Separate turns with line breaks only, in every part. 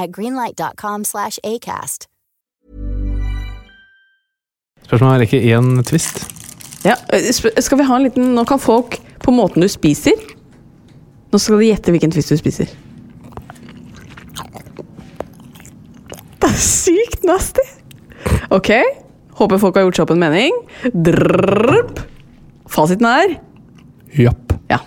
at greenlight.com slash ACAST.
Spørsmålet er ikke én twist.
Ja, sp- skal vi ha en liten Nå kan folk på måten du spiser Nå skal de gjette hvilken twist du spiser. Det er sykt nasty! Ok, håper folk har gjort seg opp en mening. Drrrp. Fasiten er
Japp.
ja.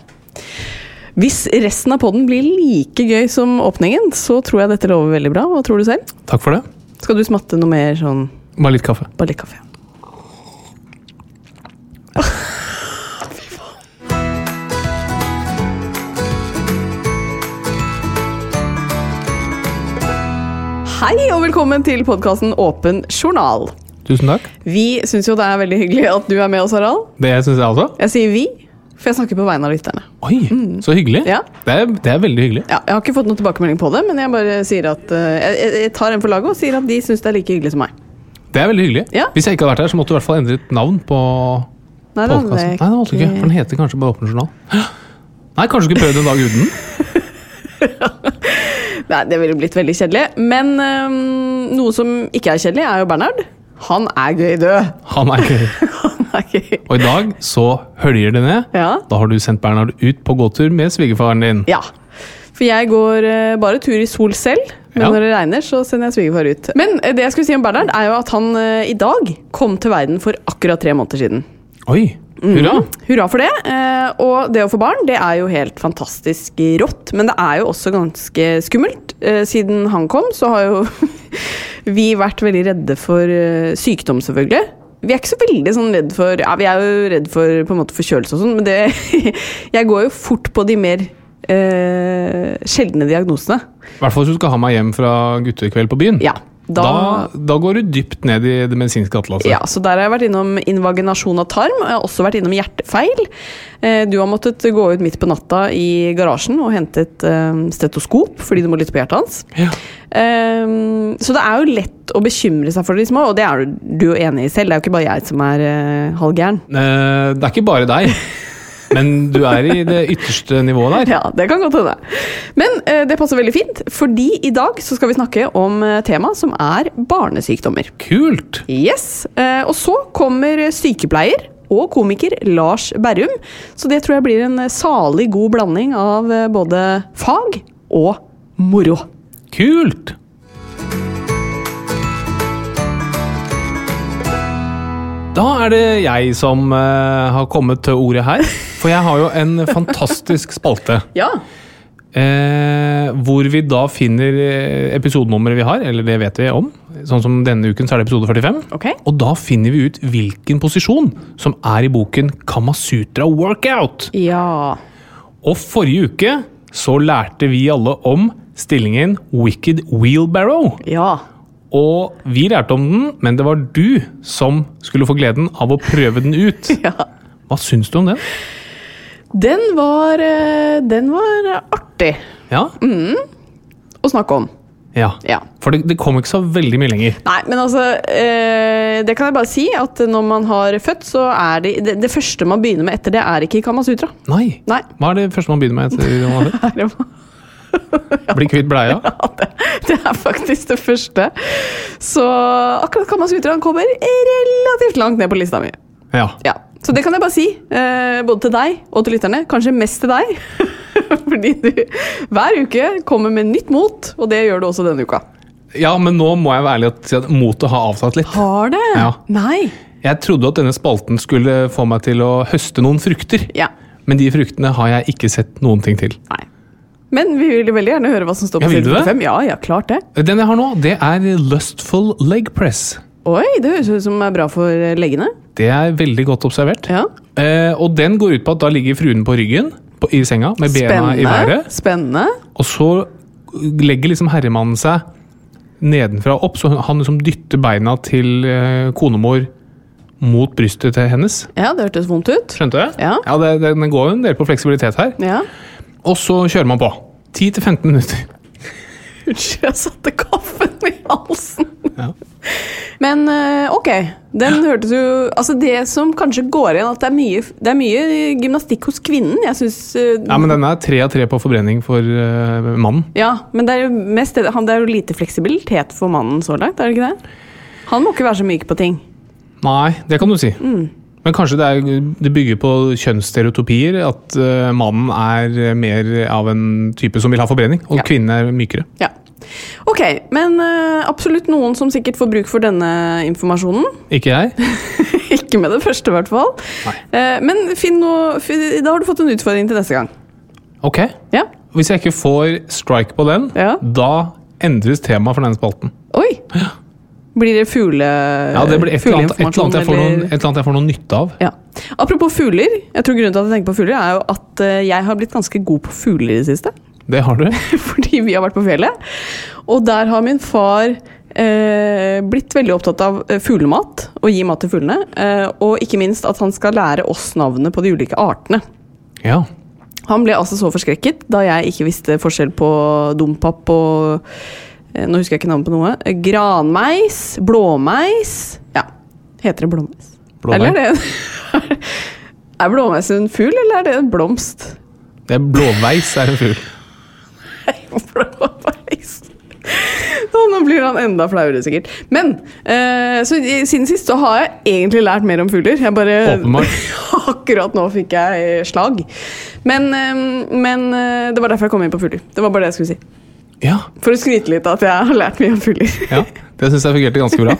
Hvis resten av poden blir like gøy som åpningen, så tror jeg dette lover veldig bra. Hva tror du selv?
Takk for det.
Skal du smatte noe mer sånn
Bare litt kaffe.
Bare litt kaffe. Hei og velkommen til podkasten Åpen journal.
Tusen takk.
Vi syns jo det er veldig hyggelig at du er med oss, Harald.
Det syns jeg også.
Jeg sier vi, for jeg snakker på vegne av lytterne.
Oi, så hyggelig.
Mm. Ja.
Det, er, det er veldig hyggelig.
Ja, jeg har ikke fått noen tilbakemelding på det, men jeg bare sier at eh, jeg- jeg, jeg tar en for laget og sier at de syns det er like hyggelig som meg.
Det er veldig hyggelig.
Ja.
Hvis jeg ikke hadde vært her, så måtte du i hvert fall endret navn på
Nei, det hadde
podkasten. Nei,
jeg
det måtte du ikke, for den heter kanskje bare Åpen journal. Nei, kanskje du ikke prøvd en dag uten den?
Nei, det ville blitt veldig kjedelig. Men øhm, noe som ikke er kjedelig, er jo Bernhard. Han er gøy død.
Han er gøy.
Han er gøy.
Og i dag så høljer det ned.
Ja.
Da har du sendt Bernhard ut på gåtur med svigerfaren din.
ja. For jeg går øh, bare tur i sol selv, men
Ja.
når det regner, så sender jeg svigerfar ut. Men øh, det jeg skulle si om Bernhard, er jo at han øh, i dag kom til verden for akkurat tre måneder siden.
Oi, hurra!
Mm, Hurra for det. Eh, og det å få barn, det er jo helt fantastisk rått. Men det er jo også ganske skummelt. Eh, siden han kom, så har jo vi vært veldig redde for eh, sykdom, selvfølgelig. Vi er ikke så veldig sånn redd for Ja, vi er jo redd for på en måte forkjølelse og sånn, men det Jeg går jo fort på de mer eh, sjeldne diagnosene.
I hvert fall hvis du skal ha meg hjem fra guttekveld på byen.
Ja.
Da, da, går du dypt ned i det medisinske atlaset.
Ja, så der har jeg vært innom invaginasjon av tarm. og Jeg har også vært innom hjertefeil. Eh, Du har måttet gå ut midt på natta i garasjen og hente et eh, stetoskop fordi du må lytte på hjertet hans.
Ja.
Eh, Så det er jo lett å bekymre seg for de små, og det er du- du jo enig i selv. Det er jo ikke bare jeg som er eh, halvgæren.
Eh, det er ikke bare deg, men du er i det ytterste nivået der.
Ja, det kan godt hende. Men eh, det passer veldig fint, fordi i dag så skal vi snakke om eh, tema som er barnesykdommer.
Kult!
Yes, eh, Og så kommer sykepleier og komiker Lars Berrum. Så det tror jeg blir en eh, salig god blanding av eh, både fag og moro.
Kult! Da er det jeg som eh, har kommet til ordet her. For jeg har jo en fantastisk spalte.
Ja.
Eh, hvor vi da finner eh, episodenummeret vi har, eller det vet vi om. Sånn som denne uken så er det episode 45.
Ok.
Og da finner vi ut hvilken posisjon som er i boken Kamasutra Workout.
Ja.
Og forrige uke så lærte vi alle om stillingen Wicked Wheelbarrow.
Ja.
Og vi lærte om den, men det var du som skulle få gleden av å prøve den ut. Hva syns du om den?
Den var eh, Den var artig
Ja,
å snakke om.
Ja.
Ja.
For det, det kom ikke så veldig mye lenger.
Nei, men altså eh, Det kan jeg bare si, at når man har født, så er det Det, det første man begynner med etter det, er ikke Kamasutra.
Nei.
Nei.
Hva er det første man begynner med etter man har født?
Er det-
Bli kvitt bleia?
Det er faktisk det første. Så akkurat Kamasutraen kommer relativt langt ned på lista mi.
Ja.
Ja, Så det kan jeg bare si, eh, både til deg og til lytterne. Kanskje mest til deg. Fordi du hver uke kommer med nytt mot, og det gjør du også denne uka.
ja, men nå må jeg være ærlig og si at motet har avtatt litt.
Har det?
Ja.
Nei.
Jeg trodde at denne spalten skulle få meg til å høste noen frukter.
Ja.
Men de fruktene har jeg ikke sett noen ting til.
Nei. Men vi vil veldig gjerne høre hva som står
Ja,
på
vil
side
du det?
45. Ja, ja, klart det.
Den jeg har nå, det er Lustful Leg Press.
Oi, det høres ut som er bra for eh, leggene.
Det er veldig godt observert.
Ja.
Eh, og den går ut på at da ligger fruen på ryggen på, i senga med bena i
Spennende.
været.
Spennende.
Og så legger liksom herremannen seg nedenfra og opp, så hun- han liksom dytter beina til eh, konemor mot brystet til hennes.
Ja, det hørtes vondt ut.
Skjønte du?
Ja.
ja det, det, den går jo en del på fleksibilitet her.
Ja.
Og så kjører man på. 10-15 minutter.
Unnskyld, jeg satte kaffen i halsen.
Ja.
Men eh, ok, den hørtes jo Altså, det som kanskje går igjen, at det er mye, det er mye gymnastikk hos kvinnen. Jeg eh, syns
Ja, men den er tre av tre på forbrenning for eh, mannen.
Ja, men det er jo mest det han- Det er jo lite fleksibilitet for mannen så langt, er det ikke det? Han må ikke være så myk på ting.
Nei, det kan du si. Men kanskje det, er, det bygger på kjønnsstereotypier? At eh, mannen er mer av en type som vil ha forbrenning, og
Ja.
kvinnen er mykere.
Ja. Ok, men eh, absolutt noen som sikkert får bruk for denne informasjonen.
Ikke jeg?
Ikke med det første, i hvert fall. Eh, men finn noe fi- Da har du fått en utfordring til neste gang.
Ok.
Ja.
Hvis jeg ikke får strike på den,
Ja.
da endres temaet for denne spalten.
Oi! Blir det fugle...
Ja, Det blir et eller annet, et eller annet, jeg, får noen, et eller annet jeg får noe nytte av.
ja. Apropos fugler. Jeg tror grunnen til at jeg tenker på fugler, er jo at eh, jeg har blitt ganske god på fugler i det siste.
Det har du.
Fordi vi har vært på fjellet. Og der har min far eh, blitt veldig opptatt av eh, fuglemat, og gi mat til fuglene. Eh, og ikke minst at han skal lære oss navnet på de ulike artene.
Ja.
Han ble altså så forskrekket da jeg ikke visste forskjell på dompap og eh, Nå husker jeg ikke navnet på noe. Eh, Granmeis, blåmeis Ja, heter det blåmeis?
Blåbær.
Eller er det en Er blåmeis en fugl, eller er det en blomst?
Det er Blåveis er en fugl.
Blåveis. Å, Nå blir han enda flauere, sikkert. Men eh, så, i- siden sist så har jeg egentlig lært mer om fugler. Jeg bare,
Åpenbart.
Akkurat nå fikk jeg eh, slag. Men, eh, men eh, det var derfor jeg kom inn på fugler. Det var bare det jeg skulle si.
Ja.
For å skryte litt av at jeg har lært mye om fugler.
ja. Det syns jeg fungerte ganske bra.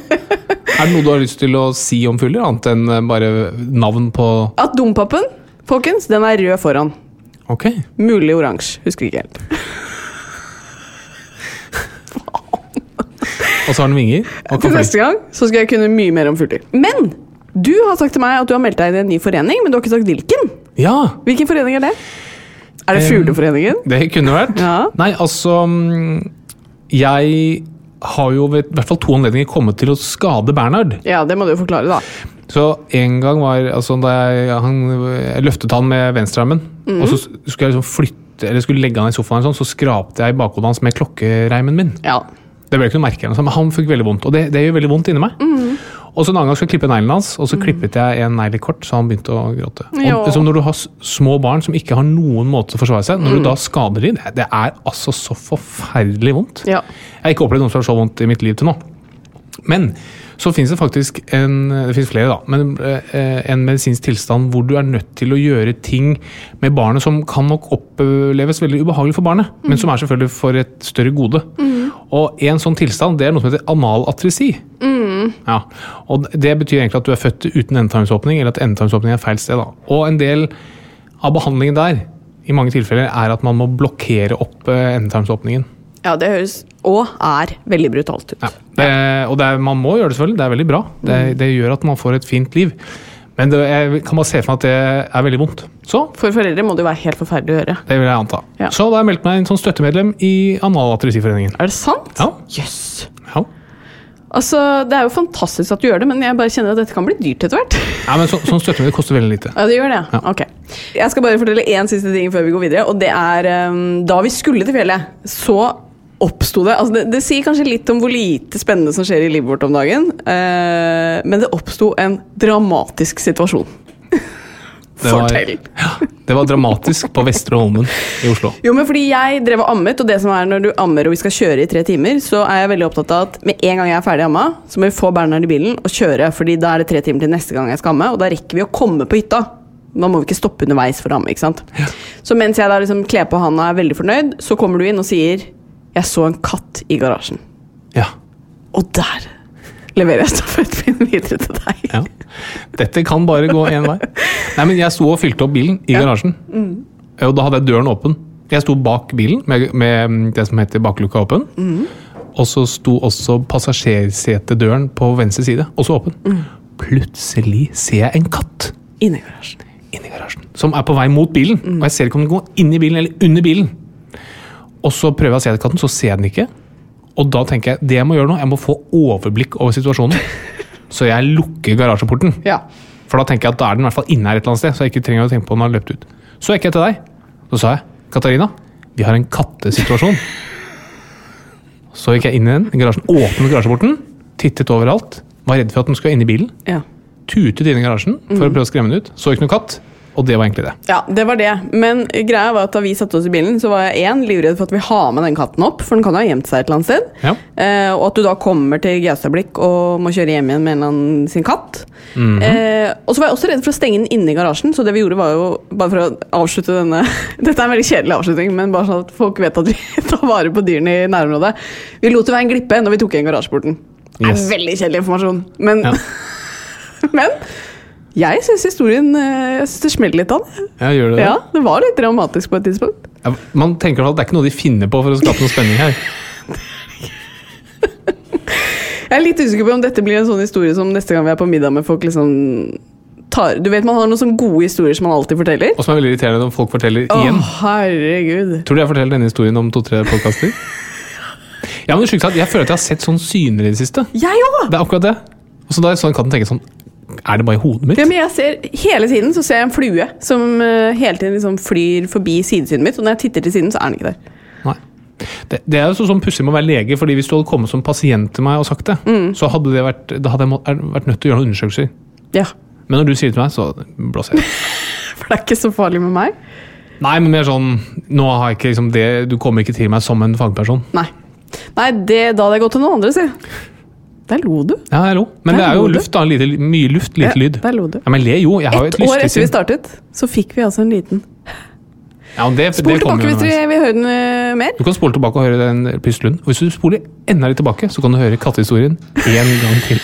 Er det noe du har lyst til å si om fugler, annet enn eh, bare navn på
At dompapen, folkens, den er rød foran.
Ok.
Mulig oransje. Husker ikke helt.
Og så har den vinger. Og
Til
kan fly.
neste gang så skal jeg kunne mye mer om fugler. Men du har sagt til meg at du har meldt deg inn i en ny forening, men du har ikke sagt hvilken.
Ja,
Hvilken forening er det? Er det
Em,
Fugleforeningen?
det kunne vært.
Ja.
Nei, altså mm, Jeg har jo ved i hvert fall to anledninger kommet til å skade Bernhard.
Ja, det må du jo forklare, da.
Så en gang var altså, da jeg, han, jeg løftet han med venstrearmen, og så s- skulle jeg liksom flytte eller skulle legge han i sofaen, og sånn, så skrapte jeg i bakhodet hans med klokkereimen min.
Ja.
Det ble ikke noe merke, eller noe sånt, men Han fikk veldig vondt, og det, det gjør veldig vondt inni meg. Og så En annen gang skulle jeg klippe neglene hans, og så klippet jeg en negl kort, så han begynte å gråte.
Ja.
Og liksom Når du har s- små barn som ikke har noen måte til å forsvare seg, når du da skader dem, det, det er altså så forferdelig vondt.
Ja.
Jeg har ikke opplevd noe som har så vondt i mitt liv til nå. Men så finnes det faktisk en det finnes flere da, men eh, en medisinsk tilstand hvor du er nødt til å gjøre ting med barnet som kan nok oppleves veldig ubehagelig for barnet, men som er selvfølgelig for et større gode. Og en sånn tilstand det er noe som heter analatresi. Ja, og Det betyr egentlig at du er født uten endetarmsåpning, eller at endetarmsåpning er feil sted. da. Og en del av behandlingen der i mange tilfeller er at man må blokkere opp eh, endetarmsåpningen.
ja, det høres og er veldig brutalt ut.
Ja, det, og det er, man må gjøre det selvfølgelig, det er veldig bra. Det,
Mm.
det gjør at man får et fint liv. Men det, jeg kan bare se for meg at det er veldig vondt. Så
For foreldre må det jo være helt forferdelig å høre.
det vil jeg anta.
Ja.
Så da har jeg meldt meg inn som støttemedlem i Analatresiforeningen.
Er det sant?
Ja.
Jøss.
Ja.
Altså, det er jo fantastisk at du gjør det, men jeg bare kjenner at dette kan bli dyrt etter hvert.
Nei, men så, sånn støttemedlem koster veldig lite.
Ja, det gjør det, ja. Ok. ehm, Jeg skal bare fortelle én siste ting før vi går videre, og det er um, Da vi skulle til fjellet, så oppsto det altså det, det sier kanskje litt om hvor lite spennende som skjer i livet vårt om dagen, eh, men det oppsto en dramatisk situasjon.
Det var,
Fortell!
ja, det var dramatisk på Vestre Holmen i Oslo.
Jo, men fordi jeg drev og ammet, og det som er når du ammer og vi skal kjøre i tre timer, så er jeg veldig opptatt av at med en gang jeg er ferdig amma, så må vi få Bernhard i bilen og kjøre, fordi da er det tre timer til neste gang jeg skal amme, og da rekker vi å komme på hytta. Da må vi ikke stoppe underveis for å amme, ikke sant. Så mens jeg da liksom kler på han og er veldig fornøyd, så kommer du inn og sier 'Jeg så en katt i garasjen'.
Ja.
Og der leverer jeg stafettpinnen videre til deg.
ja. Dette kan bare gå én vei. Nei, men jeg sto og fylte opp bilen i garasjen. Og da hadde jeg døren åpen. Jeg sto bak bilen med, med mm, det som heter bakluka åpen. Og så sto også passasjersetedøren på venstre side også åpen. Plutselig ser jeg en katt
Inne i garasjen.
inni garasjen. Som er på vei mot bilen. Og jeg ser ikke om den går inn i bilen eller under bilen. Og så prøver jeg å se etter katten, så ser jeg den ikke. Og da tenker jeg det jeg må gjøre nå, jeg må få overblikk over situasjonen. Så jeg lukker garasjeporten.
Ja.
For da tenker jeg at da er den i hvert fall inne her et eller annet sted. Så jeg ikke trenger å tenke på om den har løpt ut. Så gikk jeg til deg. Så sa jeg Katarina, vi har en kattesituasjon. Så gikk jeg inn i den i garasjen, åpnet garasjeporten, tittet overalt. Var redd for at den skulle inn i bilen
ja.
tutet inn i garasjen for å prøve å skremme den ut. Så ikke noe katt, og det var egentlig det.
Ja, det var det. Men greia var at da vi satte oss i bilen, så var jeg en, livredd for at vi har med den katten opp, for den kan jo ha gjemt seg et eller annet sted.
Ja.
Eh, og at du da kommer til Gaustablikk og må kjøre hjem igjen med en eller annen sin katt.
Mhm.
eh, og så var jeg også redd for å stenge den inne i garasjen, så det vi gjorde var jo bare for å avslutte denne Dette er en veldig kjedelig avslutning, men bare sånn at folk vet at vi tar vare på dyrene i nærområdet. Vi lot det være en glippe når vi tok igjen garasjeporten. Det
Yes.
er veldig kjedelig informasjon, men
Ja.
Men jeg syns historien eh, Jeg synes det smeller litt av den.
Ja, gjør det det?
Ja, det var litt dramatisk på et tidspunkt.
Ja, Man tenker i hvert fall at det er ikke noe de finner på for å skape noe spenning her.
Jeg er litt usikker på om dette blir en sånn historie som neste gang vi er på middag med folk liksom tar Du vet man har noen sånne gode historier som man alltid forteller?
Og som er veldig irriterende når folk forteller igjen.
Å, herregud.
Tror du jeg forteller denne historien om to-tre podkaster? Ja, men det sykeste er at jeg føler at jeg har sett sånne syner i det siste.
Jeg òg!
Det er akkurat det. Og så da jeg så den katten, tenker jeg sånn Er det bare i hodet mitt?
Ja, men jeg ser, hele tiden så ser jeg en flue som eh, hele tiden liksom flyr forbi sidesynet mitt. Og når jeg titter til siden, så er den ikke der.
Nei. Det, det er jo så- sånn pussig med å være lege, fordi hvis du hadde kommet som pasient til meg og sagt det, så hadde det vært, da hadde jeg må, er- vært nødt til å gjøre noen undersøkelser.
Ja,
Men når du sier det til meg, så blåser jeg.
For det er ikke så farlig med meg.
Nei, men mer sånn Nå har jeg ikke liksom det Du kommer ikke til meg som en fagperson.
Nei, Nei det, da hadde jeg gått til noen andre, si. Der lo du.
Ja, jeg lo. Men
Der
det er jo
lo du.
luft, da. Lite, mye luft, lite
Ja,
lyd.
der lo du.
Ja, men le jo. Jeg har jo
Ett
et
år etter vi
lystesinn.
startet, så fikk vi altså en liten
Ja, men det,
Spol
det kommer
tilbake
jo
hvis
underveis.
dere vil høre den eh, mer.
Du kan spole tilbake og høre den pyslen. Og hvis du spoler enda litt tilbake, så kan du høre kattehistorien én gang til.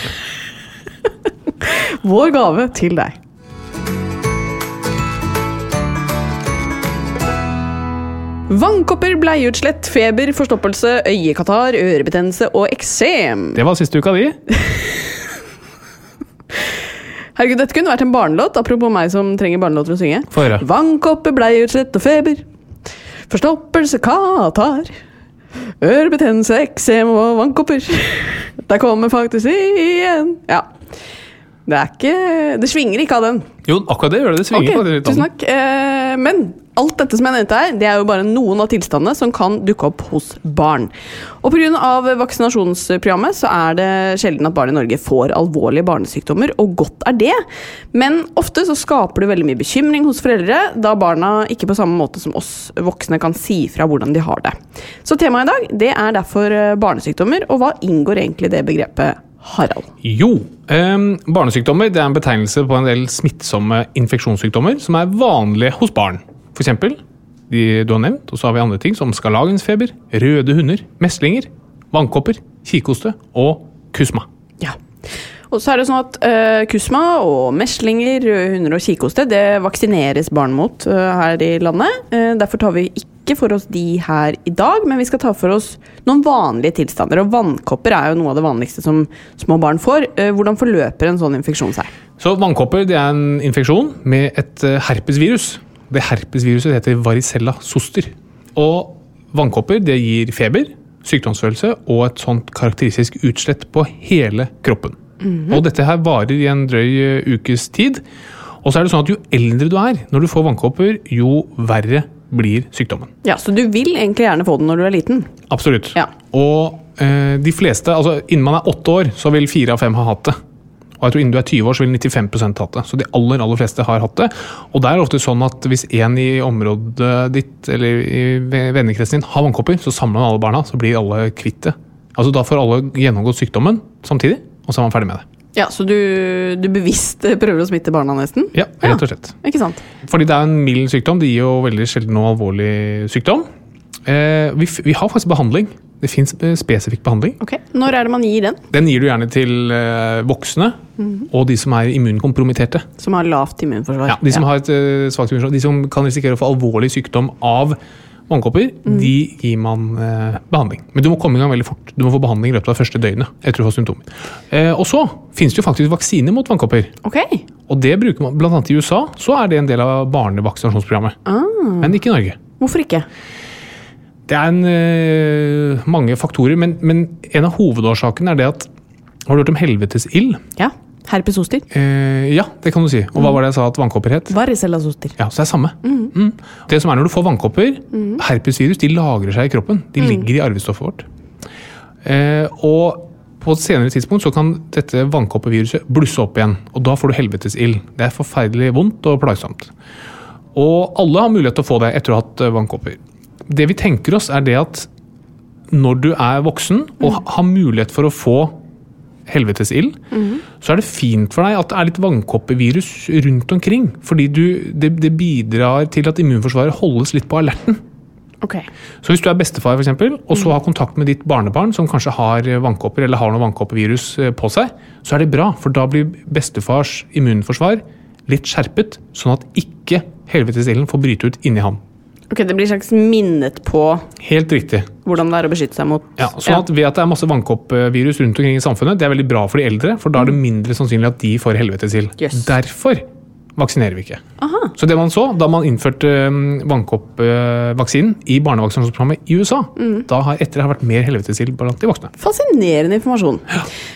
Vår gave til deg. Vannkopper, bleieutslett, feber, forstoppelse, øyekatarr, ørebetennelse og eksem.
Det var siste uka di.
Herregud, Dette kunne vært en barnelåt, apropos meg som trenger barnelåt for å synge.
Få høre.
Vannkopper, bleieutslett og feber. Forstoppelse, katar. Ørebetennelse, eksem og vannkopper. Der kommer faktisk igjen. Ja. Det er ikke Det svinger ikke av den.
Jo, akkurat det gjør det. Det
Ok,
svinger faktisk litt.
tusen
an.
takk. Eh, men alt dette som jeg nevnte her, det er jo bare noen av tilstandene som kan dukke opp hos barn. Og pga. vaksinasjonsprogrammet så er det sjelden at barn i Norge får alvorlige barnesykdommer, og godt er det. Men ofte så skaper det veldig mye bekymring hos foreldre, da barna ikke på samme måte som oss voksne kan si fra hvordan de har det. Så temaet i dag det er derfor eh, barnesykdommer, og hva inngår egentlig i det begrepet, Harald?
Jo, ehm, barnesykdommer det er en betegnelse på en del smittsomme infeksjonssykdommer som er vanlige hos barn. For eksempel de du har nevnt, og så har vi andre ting som skarlagensfeber, røde hunder, meslinger, vannkopper, kikhoste og kusma.
Ja. Og så er det sånn at eh, kusma og meslinger, røde hunder og kikhoste det vaksineres barn mot eh, her i landet. Eh, derfor tar vi ikke for oss de her i dag, men vi skal ta for oss noen vanlige tilstander. Og vannkopper er jo noe av det vanligste som små barn får. Eh, hvordan forløper en sånn infeksjon seg?
Så vannkopper det er en infeksjon med et eh, herpesvirus. Det herpesviruset heter varicella zoster. Og vannkopper det gir feber, sykdomsfølelse og et sånt karakteristisk utslett på hele kroppen. Og dette her varer i en drøy eh, ukes tid. Og så er det sånn at jo eldre du er når du får vannkopper, jo verre blir sykdommen.
Ja, Så du vil egentlig gjerne få den når du er liten?
Absolutt.
Ja.
Og eh, de fleste, altså innen man er åtte år, så vil fire av fem ha hatt det. Og jeg tror innen du er 20 år, så vil 95 hatt det. Så de aller aller fleste har hatt det. Og det er ofte sånn at hvis en i området ditt eller i ve- vennekretsen din har vannkopper, så samler man alle barna, så blir alle kvitt det. Altså Da får alle gjennomgått sykdommen samtidig, og så er man ferdig med det.
Ja, Så du, du bevisst eh, prøver å smitte barna, nesten?
Ja, rett og slett.
Ikke sant?
Fordi det er en mild sykdom. Det gir jo veldig sjelden noe alvorlig sykdom. Eh, vi, f- vi har faktisk behandling. Det fins spesifikk behandling.
Ok, Når er det man gir den?
Den gir du gjerne til eh, voksne og de som er immunkompromitterte.
Som har lavt immunforsvar?
Mhm. Ja, de som har et eh, svakt immunforsvar, de som kan risikere å få alvorlig sykdom av vannkopper, de gir man eh, behandling. Men du må komme i gang veldig fort. Du må få behandling i løpet av det første døgnet etter du har symptomer. Eh, og så finnes det jo faktisk vaksiner mot vannkopper.
Ok,
Og det bruker man blant annet i USA. Så er det en del av barnevaksinasjonsprogrammet. Men ikke i Norge.
Hvorfor ikke?
Det er en, eh, mange faktorer, men, men en av hovedårsakene er det at Har du hørt om helvetesild?
Ja, Herpes zoster.
Eh, ja, det kan du si. Og hva var det jeg sa at vannkopper het?
Varicella zoster.
Ja, så det er samme. Mm. Det som er når du får vannkopper, herpesvirus, de lagrer seg i kroppen. De ligger i arvestoffet vårt. Eh, og på et senere tidspunkt så kan dette vannkopperviruset blusse opp igjen. Og da får du helvetesild. Det er forferdelig vondt og plagsomt. Og alle har mulighet til å få det etter å ha hatt eh, vannkopper. Det vi tenker oss, er det at når du er voksen og ha- har mulighet for å få helvetesild, så er det fint for deg at det er litt vannkoppevirus rundt omkring. Fordi du, det, det bidrar til at immunforsvaret holdes litt på alerten.
Ok.
Så hvis du er bestefar for eksempel, og så har kontakt med ditt barnebarn som kanskje har eh, vannkopper eller har noe vannkoppervirus eh, på seg, så er det bra, for da blir bestefars immunforsvar litt skjerpet, sånn at ikke helvetesilden får bryte ut inni ham.
Ok, Det blir slags minnet på
Helt riktig.
hvordan det er å beskytte seg mot
Ja, sånn at Ved at det er masse vannkoppvirus rundt omkring i samfunnet, det er veldig bra for de eldre, for da er det mindre sannsynlig at de får helvetesild.
Yes.
Derfor vaksinerer vi ikke. Så det man så da man innførte um, vannkoppvaksinen i barnevaksinasjonsprogrammet i USA, da har etter det har vært mer helvetesild blant de voksne.
Fascinerende informasjon.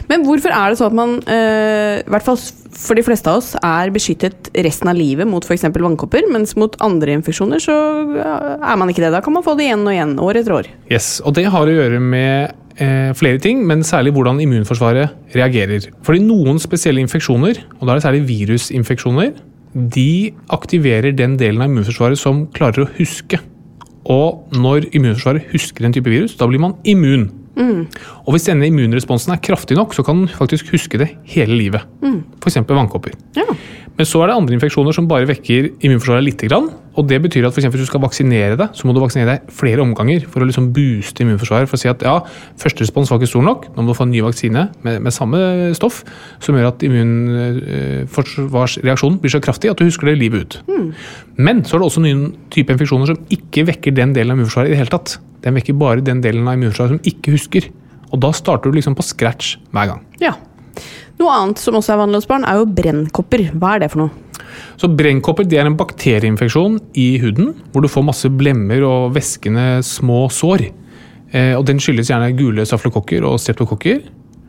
Men hvorfor er det sånn at man, eh, i hvert fall for de fleste av oss, er beskyttet resten av livet mot f.eks. vannkopper, mens mot andre infeksjoner så eh, er man ikke det? Da kan man få det igjen og igjen, år etter år.
Yes, og Det har å gjøre med eh, flere ting, men særlig hvordan immunforsvaret reagerer. Fordi Noen spesielle infeksjoner, og da er det særlig virusinfeksjoner, de aktiverer den delen av immunforsvaret som klarer å huske. Og når immunforsvaret husker en type virus, da blir man immun. Og hvis denne immunresponsen er kraftig nok, så kan den faktisk huske det hele livet. For F.eks. vannkopper.
Ja.
Men så er det andre infeksjoner som bare vekker immunforsvaret litt. Grann, og det betyr at for eksempel hvis du skal vaksinere deg, så må du vaksinere deg flere omganger for å liksom booste immunforsvaret. For å si at ja, første respons var ikke stor nok, nå må du få en ny vaksine med, med samme stoff, som gjør at immunforsvarsreaksjonen blir så kraftig at du husker det livet ut. Men så er det også noen type infeksjoner som ikke vekker den delen av immunforsvaret i det hele tatt. Den vekker bare den delen av immunforsvaret som ikke husker. Og da starter du liksom på scratch hver gang.
ja. Noe annet som også er vanlig hos barn, er jo brennkopper. Hva er det for noe?
Så Brennkopper det er en bakterieinfeksjon i huden, hvor du får masse blemmer og væskende små sår. Eh, og Den skyldes gjerne gule staflokokker og streptokokker.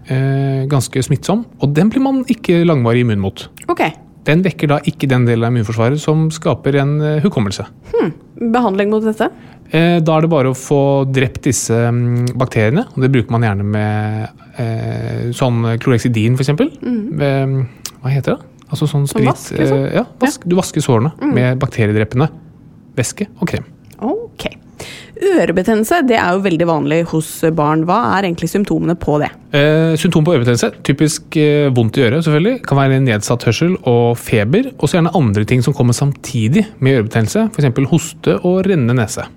Eh, ganske smittsom. Og den blir man ikke langvarig immun mot.
Ok,
Den vekker da ikke den delen av immunforsvaret som skaper en eh, hukommelse.
behandling mot dette?
Eh, da er det bare å få drept disse mm, bakteriene, og det bruker man gjerne med eh, sånn kloreksidin f.eks. Mm. Hva heter det? Altså sånn sprit
vask, liksom?
eh, ja, Mm. vask, Du vasker sårene med bakteriedreppende væske og krem.
Ok. Ørebetennelse det er jo veldig vanlig hos barn. Hva er egentlig symptomene på det?
Eh, symptom på ørebetennelse. Typisk eh, vondt i øret. selvfølgelig. Kan være nedsatt hørsel og feber. Og så gjerne andre ting som kommer samtidig med ørebetennelse. F.eks. hoste og rennende nese.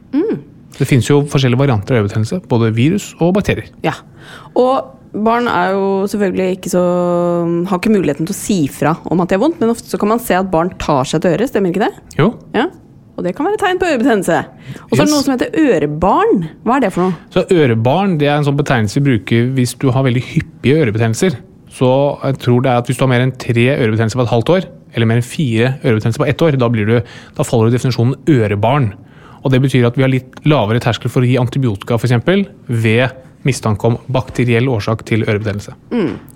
Det finnes jo forskjellige varianter av ørebetennelse. Både virus og bakterier.
Ja. Og barn er jo selvfølgelig ikke så Har ikke muligheten til å si fra om at de har vondt, men ofte så kan man se at barn tar seg til øret, stemmer ikke det?
Jo,
Ja. Og det kan være tegn på ørebetennelse. Og så er
Yes.
det noe som heter ørebarn. Hva er det for noe?
Så ørebarn det er en sånn betegnelse vi bruker hvis du har veldig hyppige ørebetennelser. Så jeg tror det er at hvis du har mer enn tre ørebetennelser på et halvt år, eller mer enn fire ørebetennelser på ett år, da, blir du, da faller du i definisjonen ørebarn. Og det betyr at vi har litt lavere terskel for å gi antibiotika for eksempel, ved mistanke om bakteriell årsak til ørebetennelse.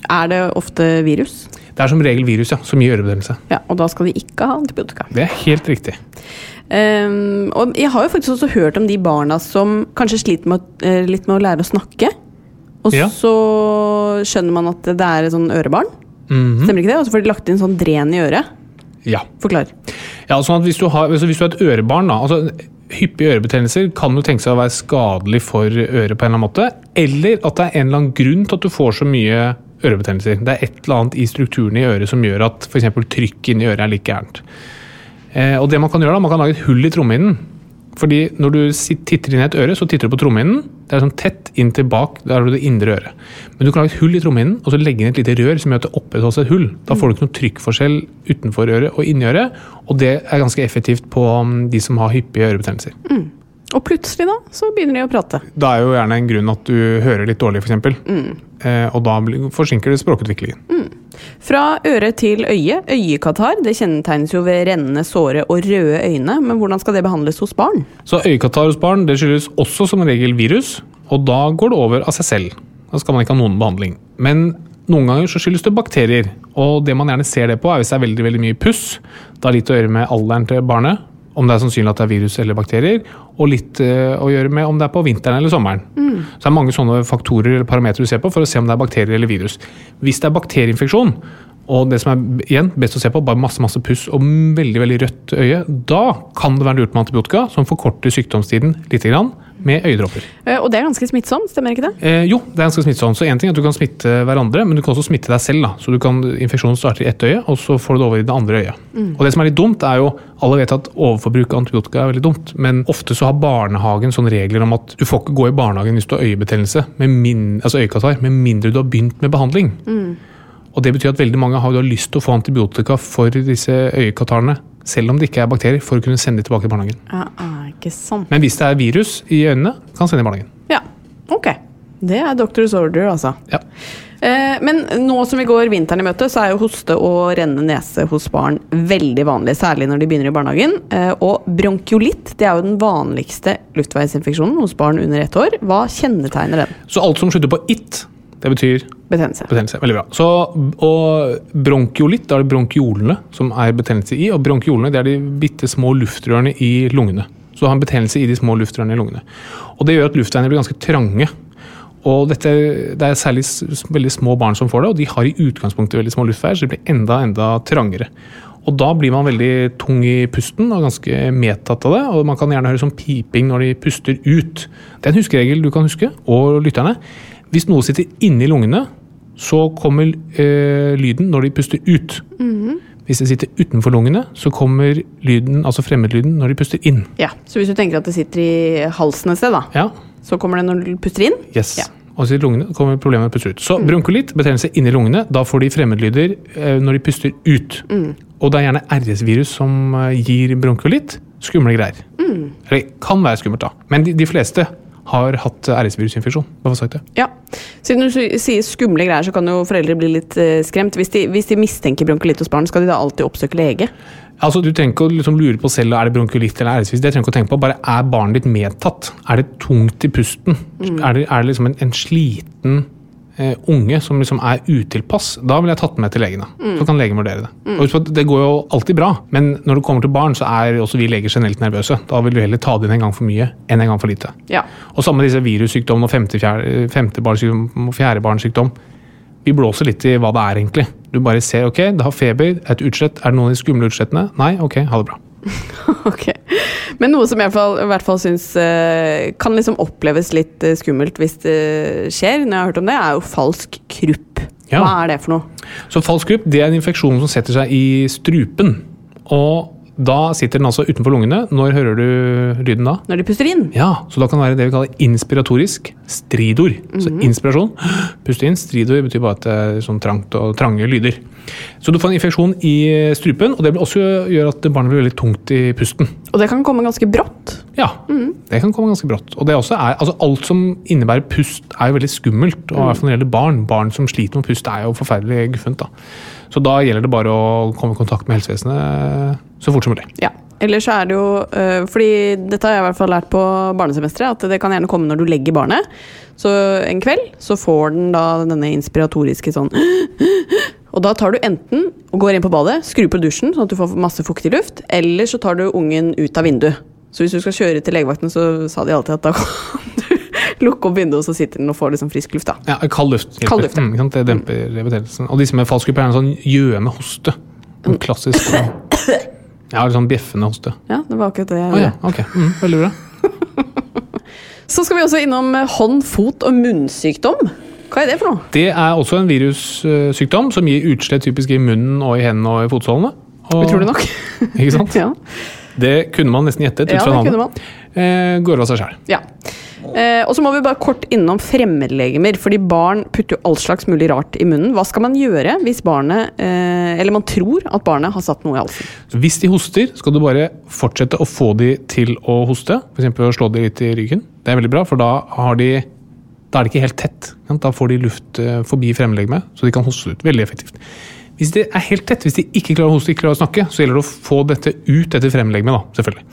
Er det ofte virus?
Det er som regel virus ja, som gir ørebetennelse.
Ja, og da skal de ikke ha antibiotika.
Det er helt riktig.
Ehm, og jeg har jo faktisk også hørt om de barna som kanskje sliter med, å- eh, litt med å lære å snakke. Og
Ja.
så skjønner man at det er et sånn ørebarn. Stemmer ikke det? Og så får de lagt inn sånn dren i øret.
Ja.
Forklar.
Ja, sånn at hvis du har, altså hvis du har et ørebarn, da, altså hyppige ørebetennelser kan jo tenke seg å være skadelig for øret på en eller annen måte, eller at det er en eller annen grunn til at du får så mye ørebetennelser. Det er et eller annet i strukturen i øret som gjør at f.eks. trykk inni øret er like gærent. Eh, og det man kan gjøre da, man kan lage et hull i trommehinnen. Fordi når du sit- titter inn i et øre, så titter du på trommehinnen. Det er sånn tett inntil bak der er det indre øret. Men du kan lage et hull i trommehinnen og så legge inn et lite rør som gjør at det opprettholdes et hull. Da får du ikke noe trykkforskjell utenfor øret og inni øret, og det er ganske effektivt på mm, de som har hyppige ørebetennelser.
Og plutselig, da, så begynner de å prate.
Da er jo gjerne en grunn at du hører litt dårlig, f.eks. Mm. Eh, og da blir- forsinker det språkutviklingen.
Fra øre til øye. Øyekatarr det kjennetegnes jo ved rennende, såre og røde øyne. Men hvordan skal det behandles hos barn?
Så øyekatarr hos barn det skyldes også som regel virus, og da går det over av seg selv. Da skal man ikke ha noen behandling. Men noen ganger så skyldes det bakterier, og det man gjerne ser det på, er hvis det er veldig veldig mye puss. Det har litt å gjøre med alderen til barnet, om det er sannsynlig at det er virus eller bakterier, og litt eh, å gjøre med om det er på vinteren eller sommeren. Så det er mange sånne faktorer eller parametere du ser på for å se om det er bakterier eller virus. Hvis det er bakterieinfeksjon, og det som er b- igjen best å se på, bare masse masse puss og m- veldig veldig rødt øye. Da kan det være lurt med antibiotika, som forkorter sykdomstiden litt grann, med øyedråper.
Eh, Og det er ganske smittsomt, stemmer ikke det?
Eh, jo, det er ganske smittsomt. Så en ting er at du kan smitte hverandre, men du kan også smitte deg selv. da. Så du kan, Infeksjonen starter i ett øye, og så får du det over i det andre øyet. Og det som er litt dumt, er jo Alle vet at overforbruk av antibiotika er veldig dumt, men ofte så har barnehagen sånne regler om at du får ikke gå i barnehagen hvis du har øyebetennelse, med min, altså øyekatarr, med mindre du har begynt med behandling. Og det betyr at veldig mange har, da lyst til å få antibiotika for disse øyekatarrene, selv om det ikke er bakterier, for å kunne sende de tilbake til barnehagen.
Ja, ah, ikke sant.
Men hvis det er virus i øynene, kan sende i barnehagen.
Ja, ok. Det er doctor's order, altså.
Ja.
Eh, Men nå som vi går vinteren i møte, så er jo hoste og rennende nese hos barn veldig vanlig. Særlig når de begynner i barnehagen. Eh, Og bronkiolitt det er jo den vanligste luftveisinfeksjonen hos barn under ett år. Hva kjennetegner den?
Så alt som slutter på it, det betyr
Betennelse.
betennelse. Veldig bra. Så, og bronkiolitt, da er det bronkiolene som er betennelse i. Og bronkiolene det er de bitte små luftrørene i lungene. Så du har en betennelse i de små luftrørene i lungene. Og det gjør at luftveiene blir ganske trange. Og dette, Det er særlig s- s- veldig små barn som får det, og de har i utgangspunktet veldig små luftveier, så de blir enda enda trangere. Og Da blir man veldig tung i pusten og ganske medtatt av det. og Man kan gjerne høre sånn piping når de puster ut. Det er en huskeregel du kan huske, og lytterne. Hvis noe sitter inni lungene, så kommer eh, lyden når de puster ut. Hvis det sitter utenfor lungene, så kommer lyden, altså fremmedlyden når de puster inn.
Ja, Så hvis du tenker at det sitter i halsen et sted, da,
Ja,
så kommer det når du puster inn?
Yes.
Ja.
Og så i lungene kommer problemet med å puste ut. Så bronkolitt, betennelse inni lungene, da får de fremmedlyder eh, når de puster ut. Og det er gjerne RS-virus som eh, gir bronkolitt. Skumle greier. Eller kan være skummelt, da. Men de, de fleste har hatt eh, RS-virusinfeksjon. Bare for å ha sagt det.
Ja. Siden du sy- sier skumle greier, så kan jo foreldre bli litt eh, skremt. Hvis de, hvis de mistenker bronkolitt hos barn, skal de da alltid oppsøke lege?
Altså, Du trenger ikke å liksom lure på selv er det bronkolitt eller RS-virus. Det trenger du ikke å tenke på. Bare er barnet ditt medtatt? Er det tungt i pusten? Er, det, er det liksom en, en sliten eh, unge som liksom er utilpass? Da ville jeg tatt med til legene. Så kan legen vurdere det. Og husk på at Det går jo alltid bra, men når det kommer til barn, så er også vi leger generelt nervøse. Da vil du heller ta det inn en gang for mye enn en gang for lite.
Ja.
Og samme med disse virussykdommene og femte, fjerde, femte barnsykdom og fjerde barnsykdom. Vi blåser litt i hva det er, egentlig. Du bare ser ok, det har feber, et utslett. Er det noen av de skumle utslettene? Nei, ok, ha det bra.
Ok. Men noe som jeg i hvert fall- i hvert fall syns eh, kan liksom oppleves litt eh, skummelt hvis det skjer, når jeg har hørt om det, er jo falsk krupp.
Ja.
Hva er det for noe?
Så falsk grupp det er en infeksjon som setter seg i strupen. Og da sitter den altså utenfor lungene. Når hører du lyden da?
Når de puster inn?
Ja, så da kan det være det vi kaller inspiratorisk stridor. Så inspirasjon, puste inn. Stridor betyr bare at det er sånn trangt og trange lyder. Så du får en infeksjon i strupen, og det vil også gjøre at barnet blir veldig tungt i pusten.
Og det kan komme ganske brått.
Ja, det kan komme ganske brått. Og det også er, altså alt som innebærer pust, er jo veldig skummelt. Og i hvert fall når det gjelder barn. Barn som sliter med å puste, er jo forferdelig guffent. da. Så da gjelder det bare å komme i kontakt med helsevesenet så fort som mulig.
Ja. Eller så er det jo eh, Fordi dette har jeg i hvert fall lært på barnesemesteret, at det kan gjerne komme når du legger barnet. Så en kveld så får den da denne inspiratoriske sånn Og da tar du enten og går inn på badet, skrur på dusjen sånn at du får masse fuktig luft, eller så tar du ungen ut av vinduet. Så hvis du skal kjøre til legevakten, så sa de alltid at da kan du lukke opp vinduet, og så sitter den og får liksom frisk luft, da.
Ja, kald luft. hjelper.
Kald luft, ja.
mm, ikke sant? Det demper betennelsen. Og disse med fallskuper er en sånn gjøende hoste.
Mm.
En klassisk sånn- Ja, eller sånn bjeffende hoste.
Ja, det var akkurat det jeg
Å ja, ok. Mm, veldig bra.
Så skal vi også innom eh, hånd-, fot- og munnsykdom. Hva er det for noe?
Det er også en virussykdom som gir utslett typisk i munnen og i hendene og i fotsålene. Og,
Utrolig nok.
Ikke sant?
ja.
Det kunne man nesten gjettet ut
Ja,
fra
det kunne
navnet. Eh, går av seg sjæl.
Ja. Eh, og så må vi bare kort innom fremmedlegemer, fordi barn putter jo all slags mulig rart i munnen. Hva skal man gjøre hvis barnet, eh, eller man tror at barnet har satt noe i halsen?
Hvis de hoster, skal du bare fortsette å få de til å hoste. F.eks. å slå de litt i ryggen. Det er veldig bra, for da har de da er det ikke helt tett. ikke sant? Da får de luft eh, forbi fremleggemet, så de kan hoste ut. Veldig effektivt. Hvis det er helt tett, hvis de ikke klarer å hoste, ikke klarer å snakke, så gjelder det å få dette ut etter fremleggemet, da, selvfølgelig.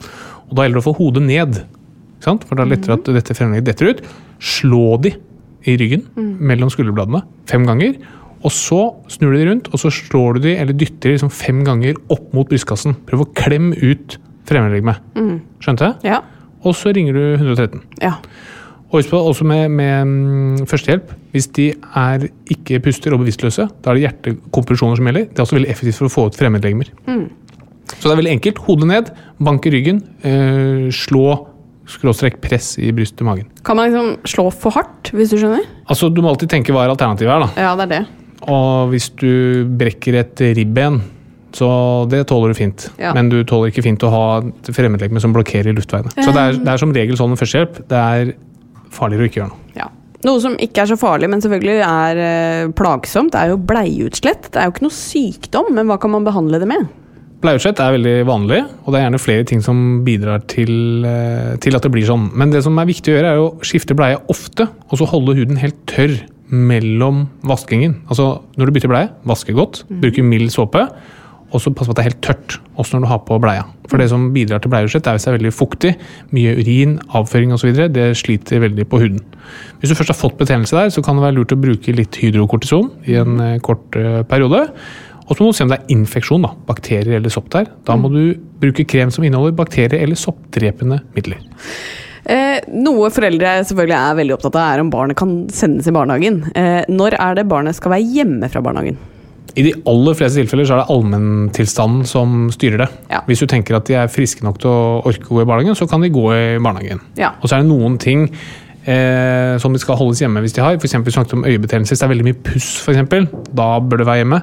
Og da gjelder det å få hodet ned, ikke sant? for da er det lettere at dette fremlegget detter ut. Slå de i ryggen mellom skulderbladene fem ganger, og så snur du de rundt, og så slår du de, eller dytter de liksom fem ganger opp mot brystkassen. Prøv å klemme ut fremleggemet. Skjønte jeg?
Ja.
Og så ringer du 113.
ja.
Og husk på, også med, med mm, førstehjelp. Hvis de er ikke puster og bevisstløse, da er det hjertekompresjoner som gjelder. Det er også veldig effektivt for å få ut fremmedlegemer. Så det er veldig enkelt. Hodet ned, banke ryggen, eh, slå skråstrekk press i brystet og magen.
Kan man liksom slå for hardt, hvis du skjønner?
Altså, Du må alltid tenke hva er alternativet er. da.
Ja, det er det.
Og hvis du brekker et ribben, så det tåler du fint.
Ja.
Men du tåler ikke fint å ha et fremmedlegeme som blokkerer luftveiene. Så det er, det er som regel sånn med førstehjelp. Det er farligere å ikke gjøre noe.
Ja. Noe som ikke er så farlig, men selvfølgelig er eh, plagsomt, er jo bleieutslett. Det er jo ikke noe sykdom, men hva kan man behandle det med?
Bleieutslett er veldig vanlig, og det er gjerne flere ting som bidrar til, eh, til at det blir sånn. Men det som er viktig å gjøre, er å skifte bleie ofte, og så holde huden helt tørr mellom vaskingen. Altså når du bytter bleie, vaske godt, bruke mild såpe, og så passe på at det er helt tørt også når du har på bleia. For det som bidrar til bleieutslett, er hvis det er veldig fuktig, mye urin, avføring osv. Det sliter veldig på huden. Hvis du først har fått betennelse der, så kan det være lurt å bruke litt hydrokortison i en eh, kort eh, periode. Og så må du se om det er infeksjon, da, bakterier eller sopp der. Da må du bruke krem som inneholder bakterier eller soppdrepende midler.
Eh, noe foreldre selvfølgelig er veldig opptatt av, er om barnet kan sendes i barnehagen. Eh, når er det barnet skal være hjemme fra barnehagen?
I de aller fleste tilfeller så er det allmenntilstanden som styrer det.
Ja.
Hvis du tenker at de er friske nok til å orke å gå i barnehagen, så kan de gå i barnehagen.
Ja.
Og så er det noen ting eh, som de skal holdes hjemme hvis de har. For eksempel, vi snakket om øyebetennelse. Hvis det er veldig mye puss, for eksempel, da bør det være hjemme.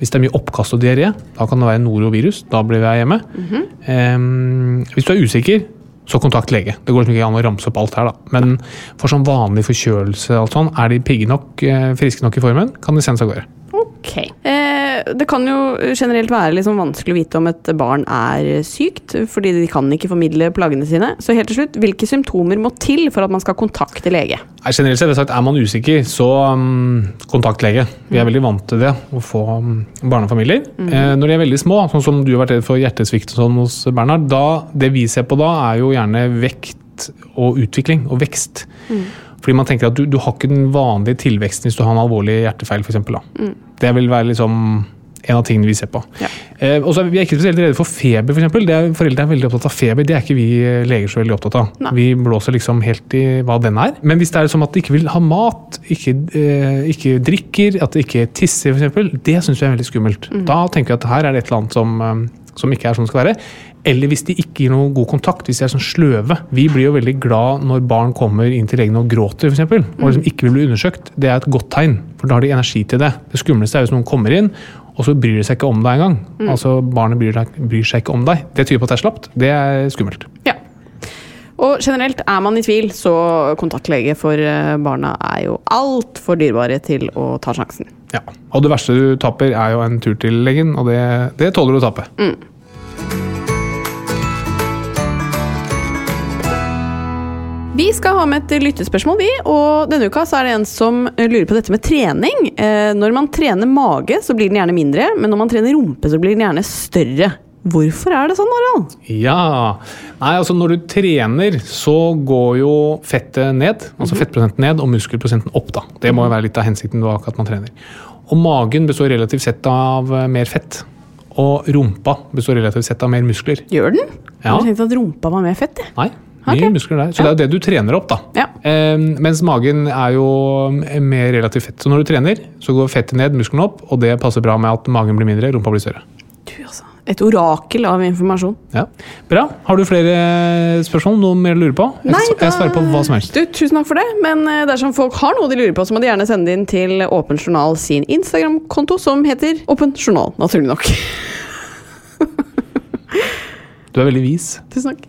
Hvis det er mye oppkast og diaré, da kan det være norovirus. Da blir vi hjemme.
Mhm.
Ehm, hvis du er usikker, så kontakt lege. Det går liksom ikke an å ramse opp alt her, da. Men for sånn vanlig forkjølelse og alt sånn, er de pigge nok, eh, friske nok i formen, kan de sendes av gårde.
Ok. Eh, det kan jo generelt være liksom vanskelig å vite om et barn er sykt, fordi de kan ikke formidle plagene sine. Så helt til slutt, hvilke symptomer må til for at man skal kontakte lege?
Nei, Generelt sett, vil jeg sagt, er man usikker, så um, kontakt lege. Vi er veldig vant til det, å få um, barnefamilier. Eh, når de er veldig små, sånn som du har vært redd for hjertesvikt og sånn hos Bernhard, da, det vi ser på da, er jo gjerne vekt og utvikling og vekst. Fordi man tenker at du, du har ikke den vanlige tilveksten hvis du har en alvorlig hjertefeil, f.eks. Mm. Det vil være liksom en av tingene vi ser på.
Ja.
Eh, og så er vi vi er ikke spesielt redde for feber, for eksempel. Det er, foreldre er veldig opptatt av feber. Det er ikke vi eh, leger så veldig opptatt av.
Nei.
Vi blåser liksom helt i hva den er. Men hvis det er som at de ikke vil ha mat, ikke, eh, ikke drikker, at de ikke tisser f.eks., det syns vi er veldig skummelt.
Mm.
Da tenker vi at her er det et eller annet som, eh, som ikke er sånn det skal være. Eller hvis de ikke gir noe god kontakt, hvis de er sånn sløve. Vi blir jo veldig glad når barn kommer inn til legen og gråter, f.eks.
Mm.
Og liksom ikke vil bli undersøkt. Det er et godt tegn, for da har de energi til det. Det skumleste er hvis noen kommer inn, og så bryr de seg ikke om deg engang. Altså, barnet bryr, deg- bryr seg ikke om deg. Det tyder på at det er slapt. Det er skummelt.
Ja. Og generelt, er man i tvil, så kontakt lege, for eh, barna er jo altfor dyrebare til å ta sjansen.
Ja. Og det verste du taper, er jo en tur til legen, og det, det tåler du å tape.
Vi skal ha med et lyttespørsmål, vi. Og denne uka så er det en som lurer på dette med trening. Eh, når man trener mage, så blir den gjerne mindre, men når man trener rumpe, så blir den gjerne større. Hvorfor er det sånn, Harald?
Ja Nei, altså når du trener, så går jo fettet ned. Altså fettprosenten ned og muskelprosenten opp, da. Det må jo være litt av hensikten bak at man trener. Og magen består relativt sett av eh, mer fett. Og rumpa består relativt sett av mer muskler.
Gjør den?
Ja.
Jeg tenkte at rumpa var mer fett, jeg.
Nei, mye
Ok.
muskler der. Så det er jo det du trener opp, da.
Ja.
Eh, mens magen er jo eh, mer relativt fett. Så når du trener, så går fettet ned, musklene opp, og det passer bra med at magen blir mindre, rumpa blir større.
Du, altså. Et orakel av informasjon.
Ja. Bra. Har du flere spørsmål? Noe mer å lure på? Jeg,
Nei, da-
jeg svarer på hva som helst.
Du, tusen takk for det, men eh, dersom folk har noe de lurer på, så må de gjerne sende det inn til Åpen journal sin Instagram-konto, som heter Åpen journal, naturlig nok.
Du er veldig vis.
tusen takk.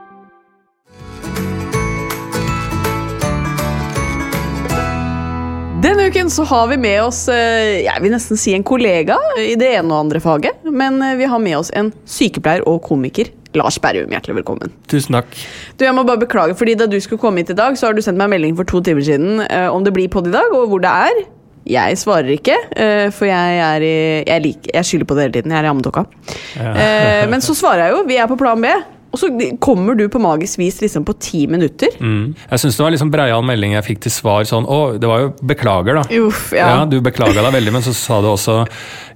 Denne uken så har vi med oss eh, jeg vil nesten si en kollega i det ene og andre faget. Men eh, vi har med oss en sykepleier og komiker. Lars Berrum, hjertelig velkommen.
Tusen takk.
Du, jeg må bare beklage, fordi Da du skulle komme hit i dag, så har du sendt meg en melding for to timer siden eh, om det blir podd i dag, og hvor det er. Jeg svarer ikke, eh, for jeg, er i, jeg, lik, jeg skylder på det hele tiden. Jeg er i ammedokka. Eh, men så svarer jeg jo. Vi er på plan B. Og så kommer du på magisk vis liksom på ti minutter.
Jeg syns det var liksom breial melding jeg fikk til svar sånn Å, det var jo beklager, da.
Uff, ja.
Du beklaga deg veldig, men så sa du også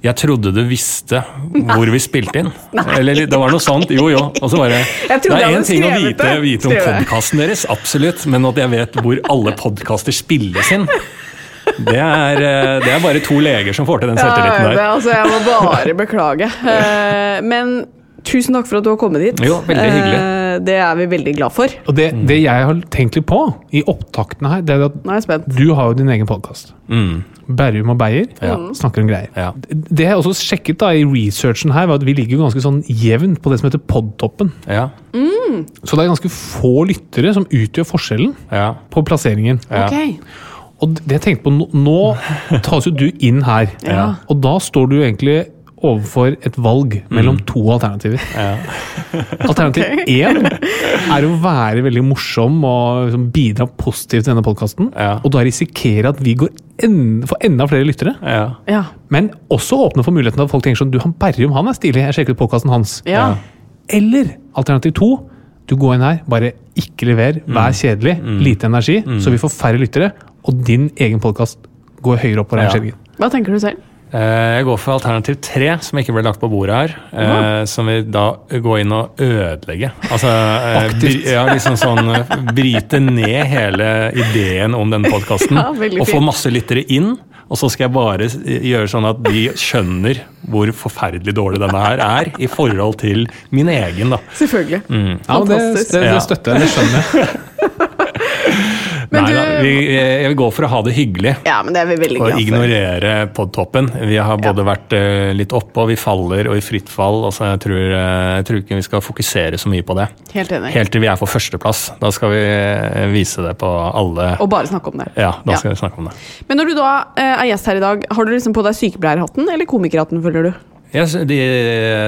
Jeg trodde du visste hvor vi spilte inn. Eller det var noe sånt. Jo, jo. Og så bare
Jeg
Det
trodde
er
jeg
én
hadde
ting å
skrevet
vite,
det,
vite om
skrev jeg.
podkasten deres, absolutt, men at jeg vet hvor alle podkaster spilles inn det er, eh, det er bare to leger som får til den
Ja,
selvtilliten
det,
der.
altså, jeg må bare beklage. Eh, men tusen takk for at du har kommet hit.
Jo, veldig hyggelig.
Eh, det er vi veldig glad for.
Og det, det jeg har tenkt litt på i opptaktene her, det er at
Nå er jeg spent.
du har jo din egen podkast. Mm. Berrum og Beyer
Mm.
snakker om greier.
Ja.
Det jeg også sjekket da i researchen her, var at vi ligger jo ganske sånn jevnt på det som heter podtoppen.
Ja,
Så det er ganske få lyttere som utgjør forskjellen
ja,
på plasseringen.
ja.
Ok.
Og det jeg tenkte på, nå, nå tas jo du inn her.
Ja.
Og da står du jo egentlig overfor et valg mellom
Mm.
to alternativer. Alternativ én er å være veldig morsom og liksom bidra positivt til denne podkasten.
Ja.
Og da risikere at vi går en, får enda flere lyttere.
ja.
Ja.
Men også åpne for muligheten at folk tenker sånn Du, han Berrum, han er stilig. Jeg sjekker ut podkasten hans.
ja.
Eller alternativ to. Du går inn her, bare ikke lever, vær kjedelig, lite energi, så vi får færre lyttere, og din egen podkast går høyere opp på
Ja.
rangeringen.
Hva tenker du selv?
Eh, Jeg går for alternativ tre, som ikke ble lagt på bordet her. eh, Som vil da gå inn og ødelegge. Altså, eh,
Aktivt.
bry- Ja, liksom sånn eh, Bryte ned hele ideen om denne podkasten.
Ja, veldig
og få
fint.
masse lyttere inn. Og så skal jeg bare s- gjøre sånn at de skjønner hvor forferdelig dårlig denne her er i forhold til min egen. da.
Selvfølgelig.
Ja, men det,
Fantastisk.
det, det
Ja.
støtter jeg, det skjønner jeg.
Men du-
Neida, vi, eh, jeg vil gå for å ha det hyggelig.
Ja, men det er vi veldig
Og
glad for.
ignorere podtoppen. Vi har både vært eh, litt oppe, og vi faller, og i fritt fall. Altså, jeg, tror, eh, jeg tror ikke vi skal fokusere så mye på det.
Helt enig.
Helt til vi er på førsteplass. Da skal vi eh, vise det på alle
Og bare snakke om det.
Ja, da skal vi snakke om det.
Men når du da eh, er gjest her i dag, har du liksom på deg sykepleierhatten eller komikerhatten, føler du?
Yes, de,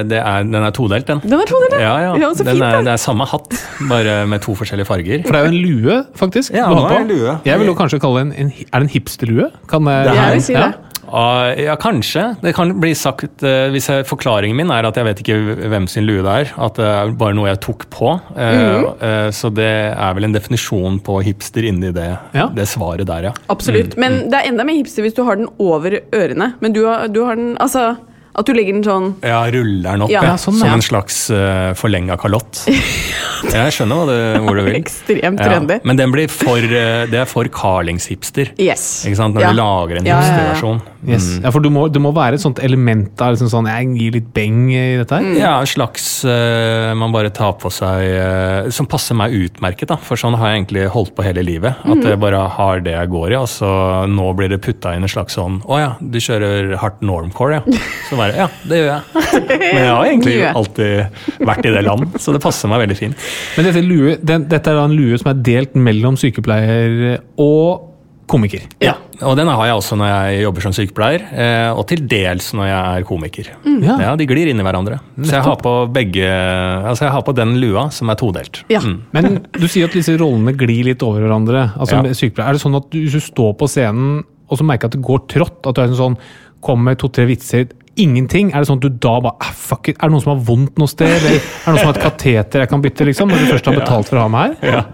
det er, den er todelt, den.
Den er todelt,
ja.
ja.
ja.
Ja, så
den
fint,
er,
da.
det er samme hatt, bare med to forskjellige farger.
For det er jo en lue, faktisk.
Ja,
du
det
har
er
på.
en lue.
Jeg vil jo kanskje kalle det en, en Er det en hipsterlue? Kan jeg,
Det er- Jeg
vil si det.
Ah, ja, kanskje. Det kan bli sagt eh, hvis jeg, Forklaringen min er at jeg vet ikke hvem sin lue det er. At det er bare noe jeg tok på. Eh,
Mhm.
eh, så det er vel en definisjon på hipster inni det,
Ja.
det svaret der, ja.
Absolutt.
Mm,
Men det er enda mer hipster hvis du har den over ørene. Men du har, du har den Altså, at du legger den sånn
Ja, ruller den opp
Ja.
ja,
Ja,
som
sånn, ja.
en slags uh, forlenga kalott. jeg skjønner hva du, hvor du vil.
Ekstremt
Ja,
trendy.
men den blir for, eh, det er for Carlings-hipster.
Yes.
Ikke sant? Når
Ja.
du lager en
Ja, ja, ja.
hipsterversjon.
Yes. Ja, for du må, det må være et sånt element av liksom sånn Jeg gir litt beng i dette her.
Ja, en slags eh, man bare tar på seg eh, Som passer meg utmerket, da. For sånn har jeg egentlig holdt på hele livet. At jeg bare har det jeg går i. Og så nå blir det putta inn en slags sånn Å ja, du kjører hardt normcore, ja. Så bare Ja, det gjør jeg. Men jeg har egentlig
Gjør jeg.
alltid vært i det land, så det passer meg veldig fint.
Men dette, lue, den, dette er da en lue som er delt mellom sykepleier og komiker.
Ja. Og den har jeg også når jeg jobber som sykepleier, eh, og til dels når jeg er komiker.
Ja.
Ja, De glir inn i hverandre. Så jeg har på begge Altså, jeg har på den lua som er todelt.
Ja.
Men du sier at disse rollene glir litt over hverandre. Altså
Ja.
med sykepleier. Er det sånn at du, hvis du står på scenen og så merker at det går trått, at du er sånn kommer med to-tre vitser, ingenting, er det sånn at du da bare ah, fuck it, er det noen som har vondt noe sted? Eller er det noen som har et kateter jeg kan bytte, liksom? Når du først har betalt for å ha meg her?
ja.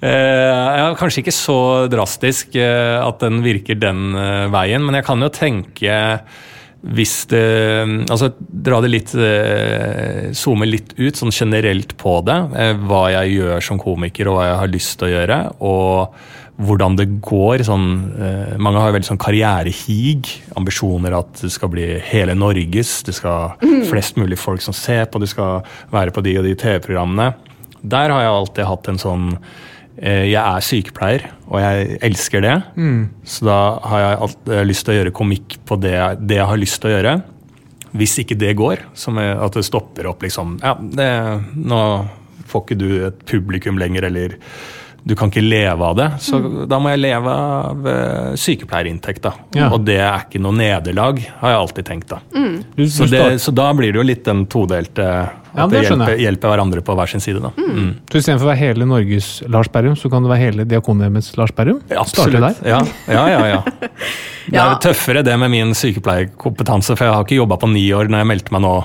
Eh, ja, kanskje ikke så drastisk eh, at den virker den eh, veien, men jeg kan jo tenke hvis det Altså dra det litt eh, Zoome litt ut sånn generelt på det. eh, hva jeg gjør som komiker, og hva jeg har lyst til å gjøre. Og hvordan det går. Sånn, eh, mange har jo veldig sånn karrierehig. Ambisjoner at du skal bli hele Norges, du skal flest mulig folk som ser på, du skal være på de og de TV-programmene. Der har jeg alltid hatt en sånn eh, Jeg er sykepleier, og jeg elsker det.
Mm.
Så da har jeg alt, eh, lyst til å gjøre komikk på det, jeg- det jeg har lyst til å gjøre. Hvis ikke det går, som er at det stopper opp liksom Ja, det, nå får ikke du et publikum lenger, eller du kan ikke leve av det. Så
Mm.
da må jeg leve av eh, sykepleierinntekt, da.
Ja. Mm.
Og det er ikke noe nederlag, har jeg alltid tenkt, da.
Du, du
Så,
står-
det, så da blir det jo litt den todelte At
Ja, men
det
det skjønner
hjelper,
jeg.
hjelper hverandre på hver sin side, da. Mm.
Så istedenfor å være hele Norges Lars Berrum, så kan det være hele Diakonhjemmets Lars Berrum? Starte
Absolutt.
der.
Ja, ja, ja, ja. Det er
Ja.
jo tøffere det med min sykepleierkompetanse, for jeg har ikke jobba på ni år når jeg meldte meg nå
Å,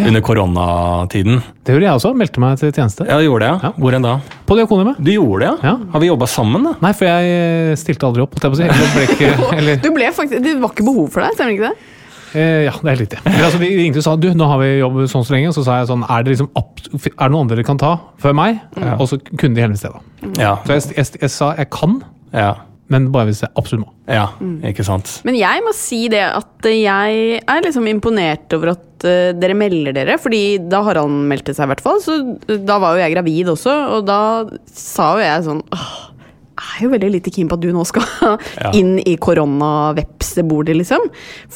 ja.
under koronatiden.
Det gjorde jeg også. Meldte meg til tjeneste.
Ja, gjorde jeg?
Ja.
Hvor enn da?
På Diakonhjemmet.
Du gjorde det, ja?
Ja.
Har vi jobba sammen, da?
Nei, for jeg eh, stilte aldri opp. holdt Jeg på å si. Eller ble ikke, eller,
Du ble faktisk, det var ikke behov for deg, stemmer ikke det?
Eh, ja, det er helt riktig. Men altså, de ringte og sa du, nå har vi jobb sånn så lenge. Og så sa jeg sånn, er det, liksom, abs- er det noen andre dere kan ta før meg? Og så kunne de helvete da.
Ja.
Så jeg, jeg, jeg sa jeg kan,
ja.
men bare hvis jeg absolutt må.
ja.
Mm.
Ikke sant.
Men jeg må si det at jeg er liksom imponert over at eh, dere melder dere. Fordi da Harald meldte seg, i hvert fall, så eh, da var jo jeg gravid også. Og da sa jo jeg sånn Åh, jeg er jo veldig lite keen på at du nå skal
Ja.
inn i koronavepsebordet, liksom.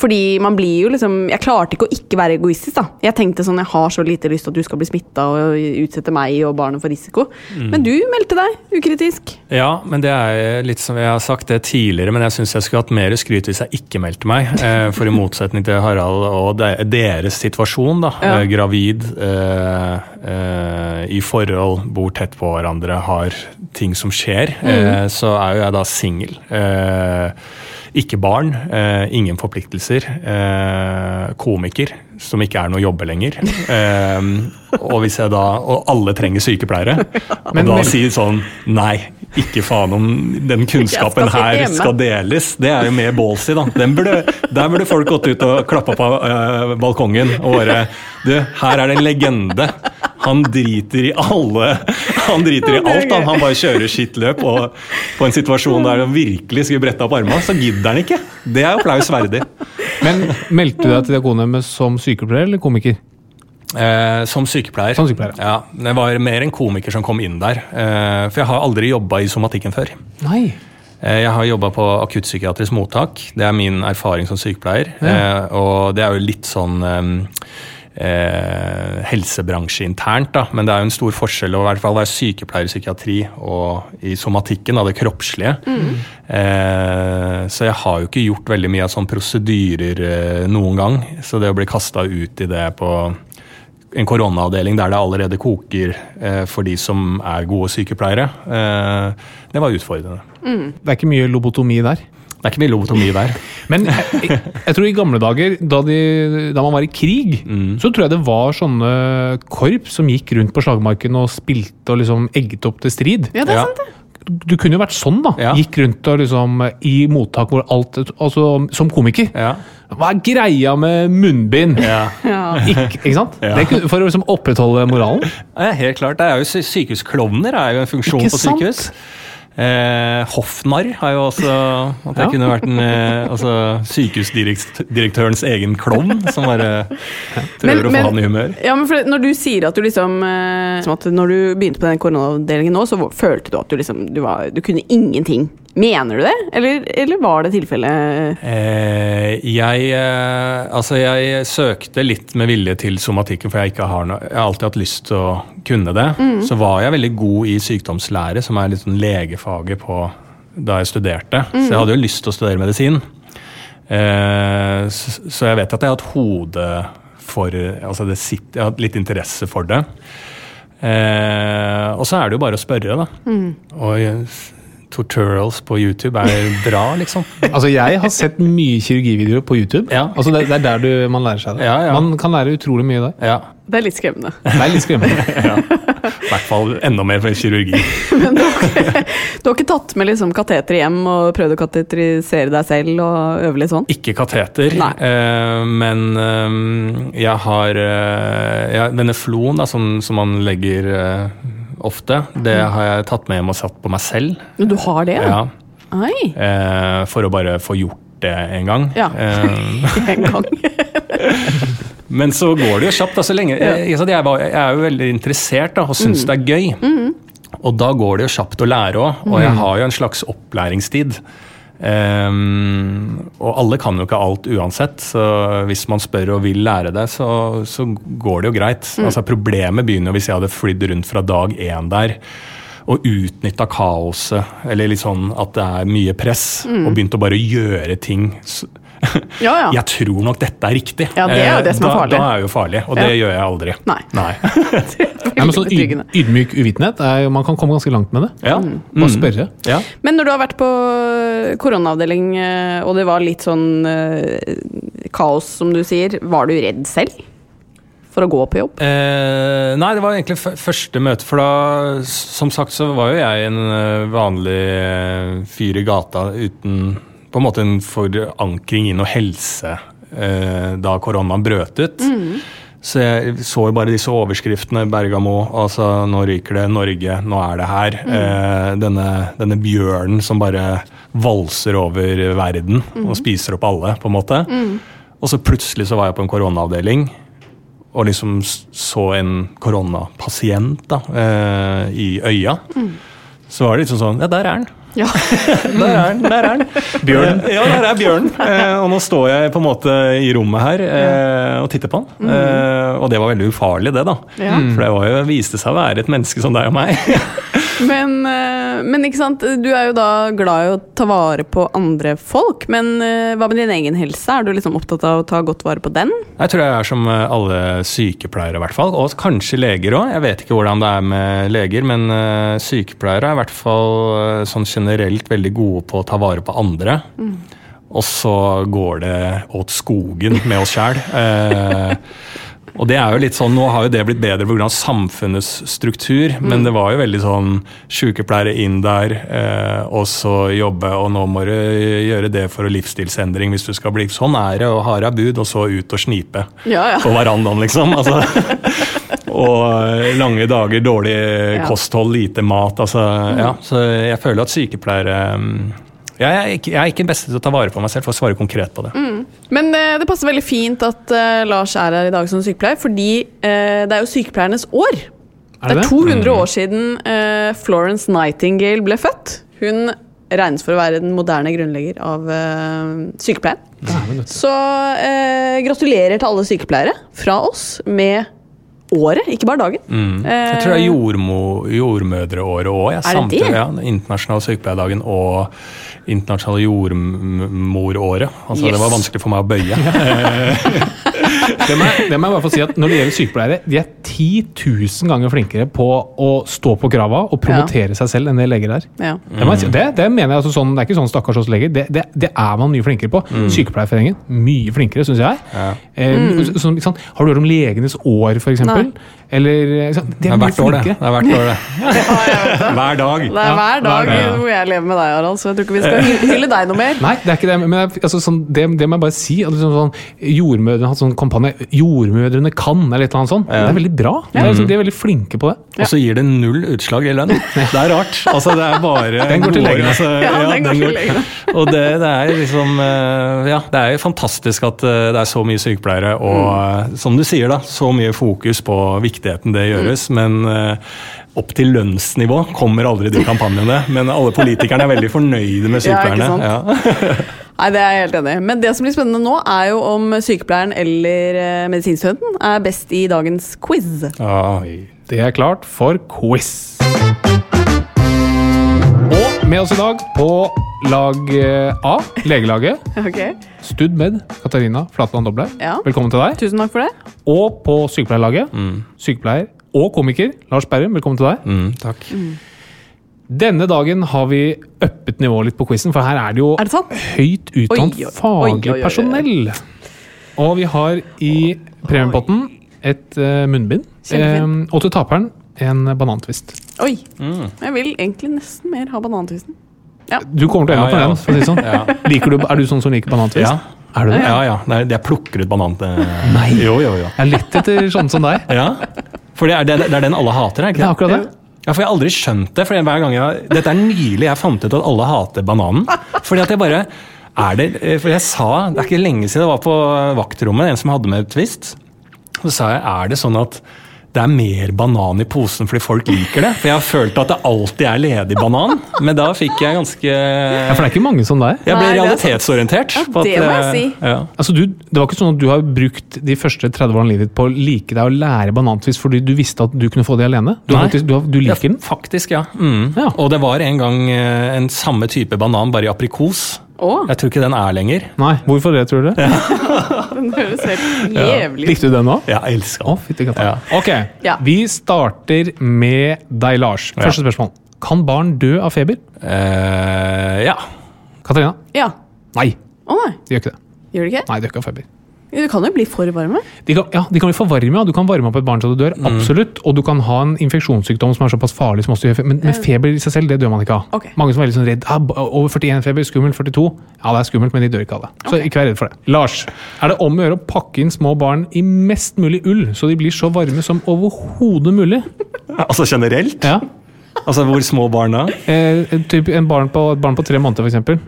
Fordi man blir jo liksom Jeg klarte ikke å ikke være egoistisk, da. Jeg tenkte sånn Jeg har så lite lyst til at du skal bli smitta og utsette meg og barnet for risiko. Men du meldte deg ukritisk.
Ja, men det er litt som jeg har sagt det tidligere, men jeg syns jeg skulle hatt mer skryt hvis jeg ikke meldte meg. Eh, For i motsetning til Harald og de- deres situasjon, da. eh, Gravid, eh, eh, i forhold, bor tett på hverandre, har ting som skjer. Eh, så er jo jeg da singel. Eh, ikke barn, eh, ingen forpliktelser. Eh, komiker, som ikke er noe jobbe lenger. Eh, og hvis jeg da Og alle trenger sykepleiere. Og
Men-
da
men-
sier sier sånn Nei, ikke faen om den kunnskapen
Jeg skal sitte
her
hjemme.
skal deles. Det er jo mer ballsy, da. Den burde, der burde folk gått ut og klappa på øh, balkongen og bare Du, her er det en legende. Han driter i alle Han driter i alt, han. Han bare kjører sitt løp. Og på en situasjon der han virkelig skulle brette opp armene, så gidder han ikke. Det er applaus verdig.
Men meldte du deg til Diakonhjemmet som sykepleier eller komiker?
Eh, som sykepleier.
Som sykepleier,
ja. Det var mer en komiker som kom inn der. Eh, for jeg har aldri jobba i somatikken før.
Nei.
Eh, Jeg har jobba på akuttpsykiatrisk mottak. Det er min erfaring som sykepleier. Eh, Og det er jo litt sånn eh, eh, helsebransje internt, da. Men det er jo en stor forskjell å i hvert fall være sykepleier i psykiatri og i somatikken, da, det kroppslige. Eh, så jeg har jo ikke gjort veldig mye av sånne prosedyrer eh, noen gang. Så det å bli kasta ut i det på en koronaavdeling der det allerede koker eh, for de som er gode sykepleiere, eh, det var utfordrende.
Det er ikke mye lobotomi der.
Det er ikke mye lobotomi der.
Men jeg, jeg, jeg tror i gamle dager, da, de, da man var i krig, så tror jeg det var sånne korps som gikk rundt på slagmarken og spilte og liksom egget opp til strid.
Ja, det er
Ja.
sant, det.
Du kunne jo vært sånn, da.
Ja.
Gikk rundt og liksom i mottak hvor alt Altså som komiker.
Ja.
Hva er greia med munnbind?
Ja.
Ikke, ikke sant? Det kunne, for å liksom opprettholde moralen.
Ja, helt klart. Det er jo sy- sykehusklovner er jo en funksjon
Ikke
på
sant?
sykehus. Eh, hoffnarr har jo også At det
Ja.
kunne vært en, eh, altså, sykehusdirektørens egen klovn som bare prøver å få han i humør.
ja, men for når du sier at du liksom eh, som at Når du begynte på den koronaavdelingen nå, så hvor- følte du at du liksom du, var, du kunne ingenting. Mener du det, eller, eller var det tilfellet
Eh, jeg, eh, altså jeg søkte litt med vilje til somatikken, for jeg, ikke har, noe, jeg har alltid hatt lyst til å kunne det. Så var jeg veldig god i sykdomslære, som er litt sånn legefaget på da jeg studerte. Så jeg hadde jo lyst til å studere medisin. Eh, så, så jeg vet at jeg har hatt hode for altså det sitt, Jeg har hatt litt interesse for det. Eh, og så er det jo bare å spørre, da. Og eh, tutorials på YouTube er bra, liksom.
Altså, Jeg har sett mye kirurgivideoer på YouTube.
Ja.
Altså, det, det er der du, man lærer seg det.
Ja, ja.
Man kan lære utrolig mye der.
Ja,
Det er litt skremmende.
Det er litt skremmende.
I hvert fall enda mer for kirurgi.
Du har ikke tatt med liksom kateter hjem og prøvd å kateterisere deg selv og øve litt sånn?
Ikke kateter,
Nei.
eh, men eh, jeg har eh, jeg, Denne floen da, som, som man legger eh, ofte, det har jeg tatt med hjem og satt på meg selv.
Men Du har det, Mm. ja?
Ja,
Ai,
eh, for å bare få gjort det en gang.
Ja.
Eh,
en gang.
men så går det jo kjapt. Da, så lenge, jeg, jeg, jeg, var, jeg er jo veldig interessert da, og syns
Mm.
det er gøy. Og da går det jo kjapt å lære òg, og
Mm.
jeg har jo en slags opplæringstid. Ehm, og alle kan jo ikke alt uansett, så hvis man spør og vil lære det, så, så går det jo greit.
Mm.
Altså Problemet begynner jo hvis jeg hadde flydd rundt fra dag én der og utnytta kaoset, eller litt sånn at det er mye press, og begynt å bare gjøre ting. s-
Mm. Ja, ja.
Jeg tror nok dette er riktig.
Ja, det er jo det som er
Eh,
farlig.
Da, da er jeg jo farlig, og det
Ja.
gjør jeg aldri.
Nei.
Nei, men sånn
Veldig betryggende.
yd, ydmyk uvitenhet er, jo- Man kan komme ganske langt med det.
Ja. Mm.
Bare spørre.
ja.
Men når du har vært på koronaavdeling, eh, og det var litt sånn eh, kaos, som du sier, var du redd selv for å gå på jobb?
Eh, nei, det var egentlig f første møte, for da, s- som sagt, så var jo jeg en eh, vanlig eh, fyr i gata uten på en måte en forankring i noe helse eh, da koronaen brøt ut. Så jeg så jo bare disse overskriftene. Bergamo, altså nå ryker det. Norge, nå er det her. Eh, denne, denne bjørnen som bare valser over verden og spiser opp alle, på en måte. Og så plutselig så var jeg på en koronaavdeling og liksom s- så en koronapasient da, eh, i øya, så var det liksom sånn Ja, der er han!
Ja.
Der er han! der er han. Bjørn. Ja, der er bjørnen. Eh, og nå står jeg på en måte i rommet her eh, og titter på han. Eh, og det var veldig ufarlig, det, da.
Ja.
For det var jo, viste seg å være et menneske som deg og meg.
Men, eh, men ikke sant, du er jo da glad i å ta vare på andre folk, men eh, hva med din egen helse? Er du liksom opptatt av å ta godt vare på den?
Jeg tror jeg er som eh, alle sykepleiere, i hvert fall. Og kanskje leger òg. Jeg vet ikke hvordan det er med leger, men eh, sykepleiere er i hvert fall eh, sånn generelt veldig gode på å ta vare på andre. Og så går det åt skogen med oss sjæl. Eh, og det er jo litt sånn, Nå har jo det blitt bedre pga. samfunnets struktur,
Mm.
men det var jo veldig sånn sykepleiere inn der, eh, og så jobbe, og nå må du gjøre det for livsstilsendring hvis du skal bli Sånn er det, og harde er bud, og så ut og snipe
Ja, ja.
på verandaen, liksom. Altså. Og eh, lange dager, dårlig
Ja.
kosthold, lite mat. Altså, ja. Så jeg mm, føler at sykepleiere mm, jeg er, ikke, jeg er ikke den beste til å ta vare på meg selv, for å svare konkret på det.
Men eh, det passer veldig fint at eh, Lars er her i dag som sykepleier, fordi eh, det er jo sykepleiernes år.
Er
det
det Mm.
er
det?
200 år siden eh, Florence Nightingale ble født. Hun regnes for å være den moderne grunnlegger av eh, sykepleien.
Dæven, vet du.
Så eh, gratulerer til alle sykepleiere fra oss med året, ikke bare dagen.
Mm.
Eh,
Jeg tror det er jordmo, jordmødreåret òg.
Er det det?
Ja, internasjonal sykepleierdagen og internasjonale jordmoråret. Altså,
Yes.
Det var vanskelig for meg å bøye.
Det må, jeg, det må jeg bare få si at Når det gjelder sykepleiere, de er 10 000 ganger flinkere på å stå på krava og promotere seg selv enn det leger er.
ja.
Det, må jeg si- det, det mener jeg altså sånn, det er ikke sånn stakkars oss leger. Det, det, det er man mye flinkere på.
Mm.
Sykepleierforeningen mye flinkere, syns jeg. Eh, så- sånn, ikke sant? Har du hørt om Legenes år, f.eks.?
Nei.
Eller eh, ikke sant? De
Det
er
er
mye
hvert år, det.
flinkere.
det, er hvert år, det. Hver dag.
Det er
Ja,
hver dag
hver dag, ja.
hvor jeg lever med deg, Harald, så jeg tror ikke vi skal hy- hylle deg noe mer.
Nei, det er ikke det. Men jeg, altså, sånn, det, det må jeg bare si. At liksom, sånn, jordmødrene har hatt sånn kampanje 'Jordmødrene kan', eller et eller annet sånt. Det er veldig bra. Det er, liksom,
Mm.
de er veldig flinke på det.
Og så gir det null utslag i lønn. Det er rart. Altså, det er bare
Den går til legen.
altså,
Ja, den går til legen.
Og det, det er liksom eh, Ja, det er jo fantastisk at eh, det er så mye sykepleiere, og
Mm.
eh, som du sier, da, så mye fokus på viktigheten det gjøres, men eh, opp til lønnsnivå kommer aldri de kampanjene. Men alle politikerne er veldig fornøyde med
Ja, ikke
sykepleierne.
sant? Nei, det er jeg helt enig i. Men det som blir spennende nå, er jo om sykepleieren eller eh, medisinstudenten er best i dagens quiz.
Oi.
Det er klart for quiz. Og med oss i dag på lag eh, A, legelaget,
Ok,
Stud med Katarina Flatland Doble.
Ja.
Velkommen til deg.
Tusen takk for det.
Og på sykepleierlaget, sykepleier og komiker Lars Berrum. Velkommen til deg.
Mm, takk.
Denne dagen har vi uppet nivået litt på quizen, for her er det jo
Er det sant?
høyt utdannet
Oi, oi, oi, oi,
faglig
oi.
personell. Og vi har i premiepotten et eh, munnbind,
Kjempefint.
eh, og til taperen en banantvist.
Oi. Jeg vil egentlig nesten mer ha banantvisten.
Du kommer til å ende opp med
Ja, ja.
den. for å si det sånn. Liker du, er du sånn som liker banantvist?
Ja.
Er du det?
Ja, ja. Nei, jeg plukker ut banan til
Nei.
Jo, jo, jo.
Jeg er lett etter sånne som deg.
Ja, for det er, det, det er den alle hater, er ikke
Det er akkurat det.
Ja, for jeg har aldri skjønt det. for jeg- hver gang jeg, Dette er nylig jeg fant ut at alle hater bananen. Fordi at jeg bare, er det, eh, for jeg sa, Det er ikke lenge siden jeg var på vaktrommet, en som hadde med twist. Så sa jeg er det sånn at det er mer banan i posen fordi folk liker det? For jeg har følt at det alltid er ledig banan. Men da fikk jeg
Ja,
ganske
for det er ikke mange som deg.
Jeg ble
Nei, det er
realitetsorientert. på at,
det må jeg
eh, Ja.
Altså, du, det var ikke sånn at du har brukt de første 30 årene av livet ditt på å like deg og lære banantvist fordi du visste at du kunne få det alene? Du, har
Nei.
faktisk, du, har, du liker den?
ja, Faktisk, ja. Mm.
Ja.
Og det var en gang eh, en samme type banan, bare i aprikos.
Å.
Jeg tror ikke den er lenger.
Nei. Hvorfor det, tror du?
Den høres helt jævlig ut.
Likte du den òg?
Jeg elsker
Å,
den.
fytti katta.
Ja.
Ok,
Ja.
vi starter med deg, Lars. Første spørsmål. Kan barn dø av feber?
Eh, ja.
Katarina?
Ja.
Nei,
Å nei,
de gjør ikke det.
gjør det ikke?
Nei, de gjør ikke av feber.
Du kan jo bli for varme.
De kan, ja, de kan bli for varme, ja. Du kan varme opp et barn så det dør. Absolutt. Og du kan ha en infeksjonssykdom som er såpass farlig som også gjør feber. Men, men feber i seg selv, det dør man ikke av.
Ok.
Mange som er litt sånn redd. Ah, b- over 41 feber, skummelt 42. Ja, det er skummelt, men de dør ikke av det. Så ikke vær redd for det. Lars, er det om å gjøre å pakke inn små barn i mest mulig ull, så de blir så varme som overhodet mulig?
Altså generelt?
Ja.
Altså Hvor små barna?
Eh, en typ, en barn på, et barn på tre måneder, f.eks.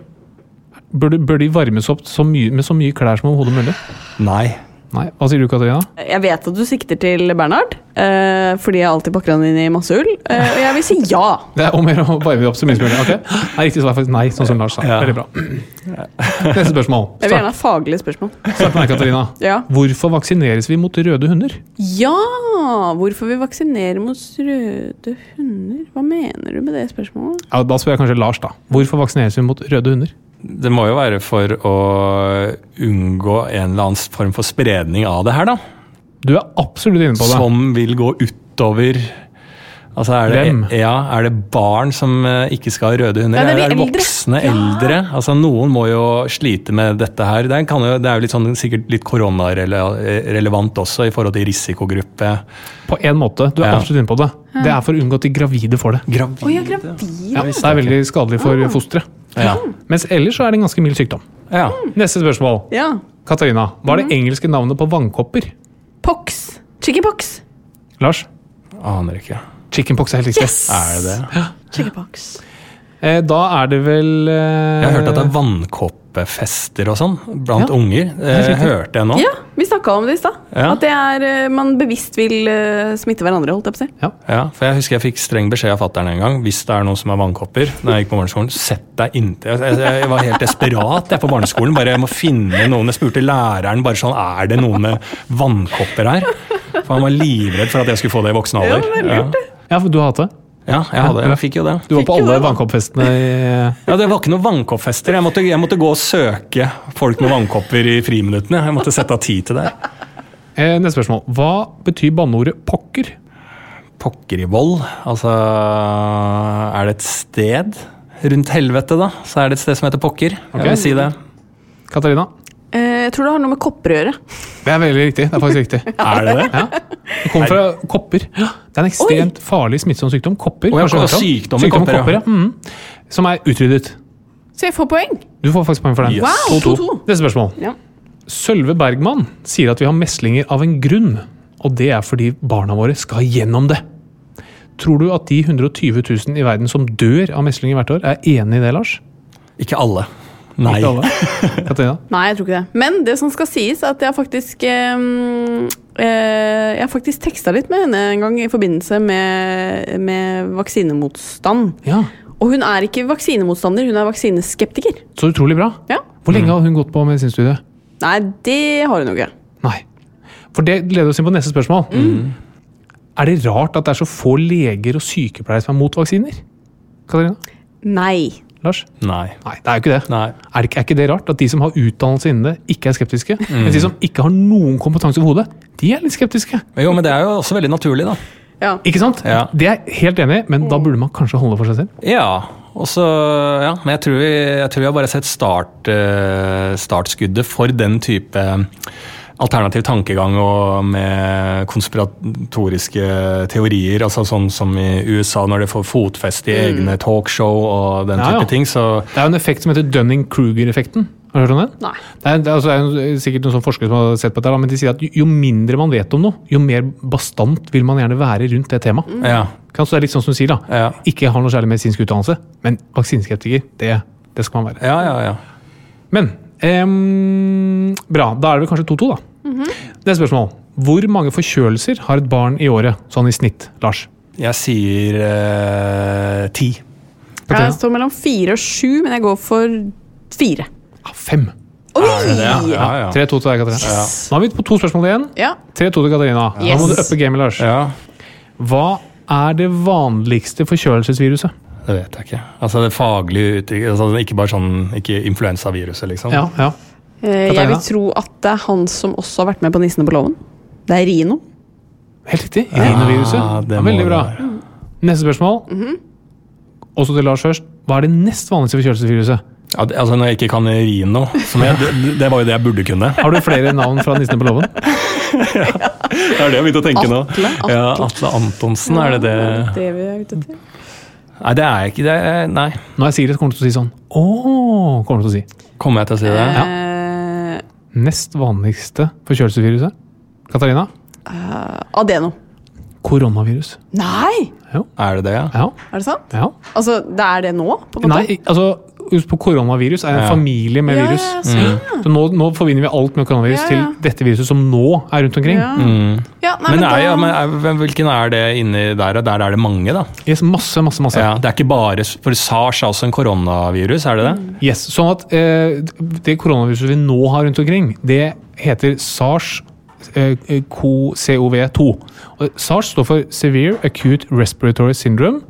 Bør, de- bør de varmes opp så mye, med så mye klær som overhodet mulig?
Nei.
Nei. Hva sier du, Katarina?
Jeg vet at du sikter til Bernhard, eh, fordi jeg alltid pakker han inn i masse ull. eh, og jeg vil si ja.
Det er om å gjøre å varme opp så mye som mulig. ok? Nei, riktig svar er faktisk nei, sånn som Lars sa.
Ja.
Veldig bra. Neste spørsmål.
Jeg vil gjerne
Start,
ha faglige spørsmål.
start med deg, Katarina.
Ja.
Hvorfor vaksineres vi mot røde hunder?
ja! Hvorfor vi vaksinerer mot røde hunder? Hva mener du med det spørsmålet?
Ja, da spør jeg kanskje Lars, da. Hvorfor vaksineres vi mot røde hunder?
Det må jo være for å unngå en eller annen form for spredning av det her, da.
Du er absolutt inne på det.
Som vil gå utover Altså er det,
Hvem?
Ja, er det barn som eh, ikke skal ha røde hunder?
Ja, det er de
Eller er det
eldre.
voksne eldre? Altså Noen må jo slite med dette her. Det, kan jo, det er jo litt sånn, sikkert litt koronarelevant også, i forhold til risikogruppe.
På en måte. Du er
Ja.
absolutt inne på det. Det er for å unngå at de gravide får det.
Gravide.
Å, jeg er gravid.
Ja, det er veldig skadelig
Ah.
for fosteret.
Ja.
Mens ellers så er det en ganske mild sykdom.
ja.
Neste spørsmål.
Ja. Mm.
Katarina, hva er det engelske navnet på vannkopper?
Pox. Chickenpox.
Lars?
Aner ikke.
Chickenpox er helt riktig.
Er det det?
Chickenpox.
Eh, Da er det vel eh,
Jeg har hørt at det er vannkopper gruppefester og sånn blant
Ja.
unger. Eh, hørte jeg nå.
Ja, vi snakka om det i stad.
Ja.
At det er, eh, man bevisst vil eh, smitte hverandre, holdt jeg på å si.
Ja, for jeg husker jeg fikk streng beskjed av fattern en gang hvis det er noen som har vannkopper. når jeg gikk på barneskolen, sett deg inntil. Jeg, jeg, jeg var helt desperat jeg på barneskolen. bare Jeg må finne noen. Jeg spurte læreren bare sånn, er det noen med vannkopper her. For han var livredd for at jeg skulle få det i voksen alder. Ja,
Ja, for du har hatt det?
ja jeg hadde det. Jeg fikk jo det.
Du var på alle vannkoppfestene i
Ja, Det var ikke noen vannkoppfester. Jeg måtte, jeg måtte gå og søke folk med vannkopper i friminuttene. Jeg måtte sette av tid til det.
eh, Neste spørsmål. Hva betyr banneordet pokker?
Pokker i vold. Altså Er det et sted rundt helvete, da? Så er det et sted som heter Pokker.
Ok.
Jeg vil si det.
Katarina?
Eh, Jeg tror det har noe med kopper å gjøre.
Det er veldig riktig. Det er faktisk riktig.
Er det det?
Ja. Det kommer fra kopper. Det er en ekstremt farlig smittsom sykdom. Kopper.
Å ja,
kanskje du har hørt om?
sykdom i kopper, ja.
ja. Mhm. Som er utryddet.
Så jeg får poeng.
Du får faktisk poeng for den.
Yes.
Wow,
2-2.
2-2.
Neste spørsmål.
Ja.
Sølve Bergman sier at vi har meslinger av en grunn, og det er fordi barna våre skal gjennom det. Tror du at de 120 000 i verden som dør av meslinger hvert år, er enig i det, Lars?
Ikke alle. Nei.
Ikke alle. Katarina?
Nei, jeg tror ikke det. Men det som skal sies, er at jeg faktisk eh, eh, Jeg har faktisk teksta litt med henne en gang i forbindelse med, med vaksinemotstand.
Ja,
Og hun er ikke vaksinemotstander, hun er vaksineskeptiker.
så utrolig bra.
Ja.
Hvor lenge har hun gått på medisinstudiet?
Nei, det har hun jo ikke.
Nei. For det leder oss inn på neste spørsmål. Er det rart at det er så få leger og sykepleiere som er mot vaksiner? Katarina?
Nei.
Lars?
Nei.
Nei, det er jo ikke det.
Nei.
Er, det ikke- er ikke det rart at de som har utdannelse innen det, ikke er skeptiske? Mens de som ikke har noen kompetanse over hodet, de er litt skeptiske.
Men Jo, men det er jo også veldig naturlig, da.
Ja.
Ikke sant?
Ja.
Det er jeg helt enig i, men da burde man kanskje holde for seg selv.
Ja. Og så, ja, men jeg tror, vi, jeg tror vi har bare sett start, eh, startskuddet for den type eh, alternativ tankegang og med konspiratoriske teorier, altså sånn som i USA når det får fotfeste i egne talkshow og den
Ja,
type
ja.
ting. Så
Det er jo en effekt som heter Dunning-Kruger-effekten. Har du hørt om den?
Nei.
Det er, det er, altså, det er jo sikkert noen sånne forskere som har sett på dette, da, men de sier at jo- jo mindre man vet om noe, jo mer bastant vil man gjerne være rundt det temaet.
Mm.
ja.
Kan- så det er litt sånn som du sier da.
Ja.
Ikke har noe særlig medisinsk utdannelse, men vaksineskeptiker, det, det skal man være.
Ja, ja, ja.
Men em, bra, da er det vel kanskje 2-2, da.
Mhm.
Neste spørsmål. Hvor mange forkjølelser har et barn i året, sånn i snitt, Lars?
Jeg sier eh, ti.
Jeg står mellom fire og sju, men jeg går for fire.
Ja, fem.
Oi!
Ja, ja, ja.
3-2 til deg, Katarina. Nå er vi på to spørsmål igjen.
Ja.
3-2 til Katarina. Nå må
Yes.
du uppe gamet, Lars.
ja.
Hva er det vanligste forkjølelsesviruset?
Det vet jeg ikke. Altså det faglige uttrykket, altså ikke bare sånn, ikke influensaviruset liksom.
Ja, ja.
Eh, Jeg
Katarina?
vil tro at det er han som også har vært med på Nissene på låven. Det er Rino.
Helt riktig. Rhinoviruset.
Ja, det
Ja,
må
veldig
det
bra.
være.
Neste spørsmål.
Mhm.
Også til Lars først. Hva er det nest vanligste forkjølelsesviruset?
Ja, det- altså når jeg ikke kan rino, som jeg, det, det var jo det jeg burde kunne.
Har du flere navn fra Nissene på låven?
Det er det jeg begynte å tenke nå.
Atle, Atle.
Ja, Atle Antonsen, er det det?
Det vi er ute etter.
Nei, det er jeg ikke det. er- Nei.
Nå er Sigrid kommer til å si sånn Åh, kommer hun til å si.
Kommer jeg til å si det? Ja.
Eh,
Nest vanligste forkjølelsesviruset? Katarina?
Adeno.
Koronavirus.
Nei!
Er det det, ja?
Ja.
Er det sant?
ja.
Altså, det er det nå? på en måte?
Nei, i- altså Husk på koronavirus er en
Ja. Mm.
familie med
Ja,
virus.
ja, ja, sånn,
Så nå, nå forbinder vi alt med koronavirus
Ja, ja.
til dette viruset som nå er rundt omkring.
Ja. Ja, nei, men,
Men, er,
da,
ja, men er, hvem- hvilken er det inni der? og Der er det mange, da.
Yes, masse, masse, masse.
Ja, det er ikke bare For SARS er også en koronavirus, er det det?
Mm.
Yes, sånn at eh, Det koronaviruset vi nå har rundt omkring, det heter eh, SARS-CoV-2. SARS står for Severe Acute Respiratory Syndrome.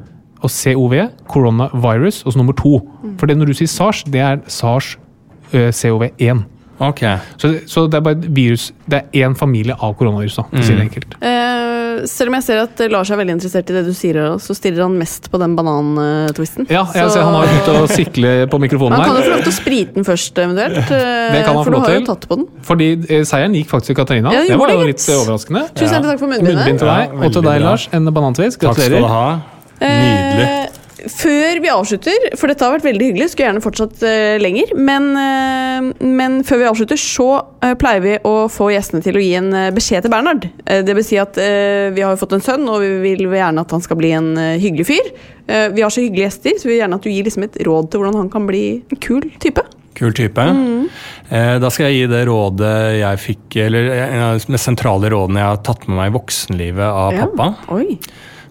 Og COV, coronavirus, og så nummer to. For det når du sier SARS, eh, det er SARS-CoV-1.
Ok.
Så, det- så det er bare et virus Det er én familie av koronavirus, da. for å si det enkelt.
eh, selv om jeg ser at Lars er veldig interessert i det du sier, så stirrer han mest på den banantwisten.
Ja, jeg ser han har begynt å sikle på mikrofonen
Man kan
her.
jo få lov til å sprite den først, eventuelt. eh,
Det kan han få
for du
lov
har jo
til.
tatt på den.
Fordi eh, seieren gikk faktisk til Katarina.
Ja, det
det var
gjorde
jo
det,
litt
gitt.
eh, overraskende.
Tusen hjertelig takk for
Munnbind
munnbindet.
til deg,
Ja,
og til
veldig
deg,
bra.
Lars. En banantvis.
Takk skal du
Gratulerer.
ha. Nydelig.
Eh, Før vi avslutter, for dette har vært veldig hyggelig, skulle gjerne fortsatt eh, lenger, men, eh, men før vi avslutter, så eh, pleier vi å få gjestene til å gi en eh, beskjed til Bernhard. Eh, det vil si at eh, vi har jo fått en sønn, og vi vil gjerne at han skal bli en eh, hyggelig fyr. Eh, vi har så hyggelige gjester, så vi vil gjerne at du gir liksom et råd til hvordan han kan bli en kul type.
Kul type. Eh, Da skal jeg gi det rådet jeg fikk, eller eh, en av de mest sentrale rådene jeg har tatt med meg i voksenlivet av
Ja.
pappa.
Oi.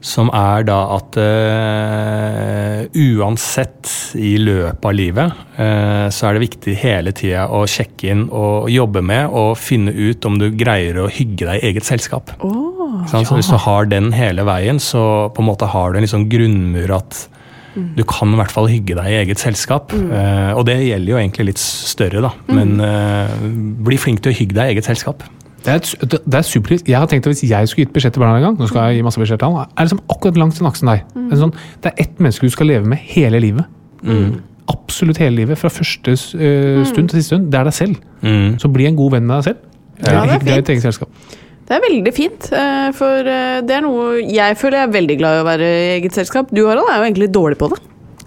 Som er da at eh, uansett i løpet av livet, eh, så er det viktig hele tida å sjekke inn og jobbe med og finne ut om du greier å hygge deg i eget selskap. Ikke sant? Så hvis du har den hele veien, så på en måte har du en litt sånn grunnmur at du kan i hvert fall hygge deg i eget selskap. Eh, og det gjelder jo egentlig litt større, da. Men eh, bli flink til å hygge deg i eget selskap.
Det er, et, su- det er supertrist. Jeg har tenkt at Hvis jeg skulle gitt beskjed til barna en gang, nå skal jeg gi masse beskjed til han, er liksom akkurat langs den aksen der. Det, er sånn, det er ett menneske du skal leve med hele livet.
Mm.
Absolutt hele livet. Fra første
Mm.
eh, stund til siste stund. Det er deg selv.
Mm.
Så bli en god venn med deg selv.
Ja, det er
Hygg deg i ditt eget selskap.
Det er veldig fint, eh, for eh, det er noe jeg føler jeg er veldig glad i å være i eget selskap. Du Harald er jo egentlig dårlig på det.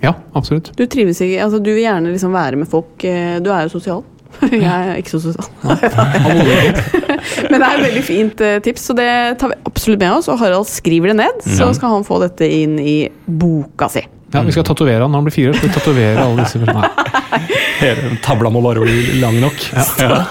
Ja, absolutt.
Du trives ikke, altså du vil gjerne liksom være med folk. eh, Du er jo sosial. Jeg er ikke så sosial. Men det er et veldig fint eh, tips, så det tar vi absolutt med oss. Og Harald skriver det ned, så skal han få dette inn i boka si.
Ja, Vi
Mm.
skal tatovere han når han blir fire år. Skal vi tatovere alle disse Nei.
Hele Tavla må bare bli lang nok. Ja.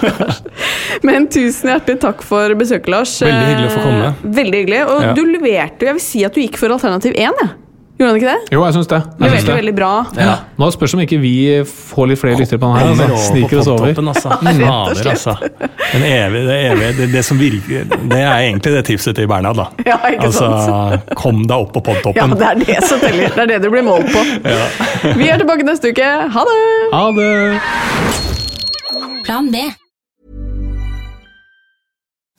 Men tusen hjertelig takk for besøket, Lars.
Veldig hyggelig å få komme.
Eh, Veldig hyggelig. Og
Ja.
du leverte jo, jeg vil si at du gikk for alternativ 1, jeg. Gjorde han ikke det?
Jo, jeg syns det.
Du
Jeg syns
leverte
det.
veldig bra.
Ja.
Nå spørs det om ikke vi får litt flere lyttere på den her. altså.
Ja,
så Sniker oss over.
Toppen, altså. Fader, altså. Den evige, det, evige det, det som virker Det er egentlig det tipset til Bernhard, da.
Ja, ikke
altså,
sant?
kom deg opp på
Ja,
podtoppen.
det er det som teller. Det er det du blir målt på. Vi er tilbake neste uke. Ha det!
Ha det!
Plan B.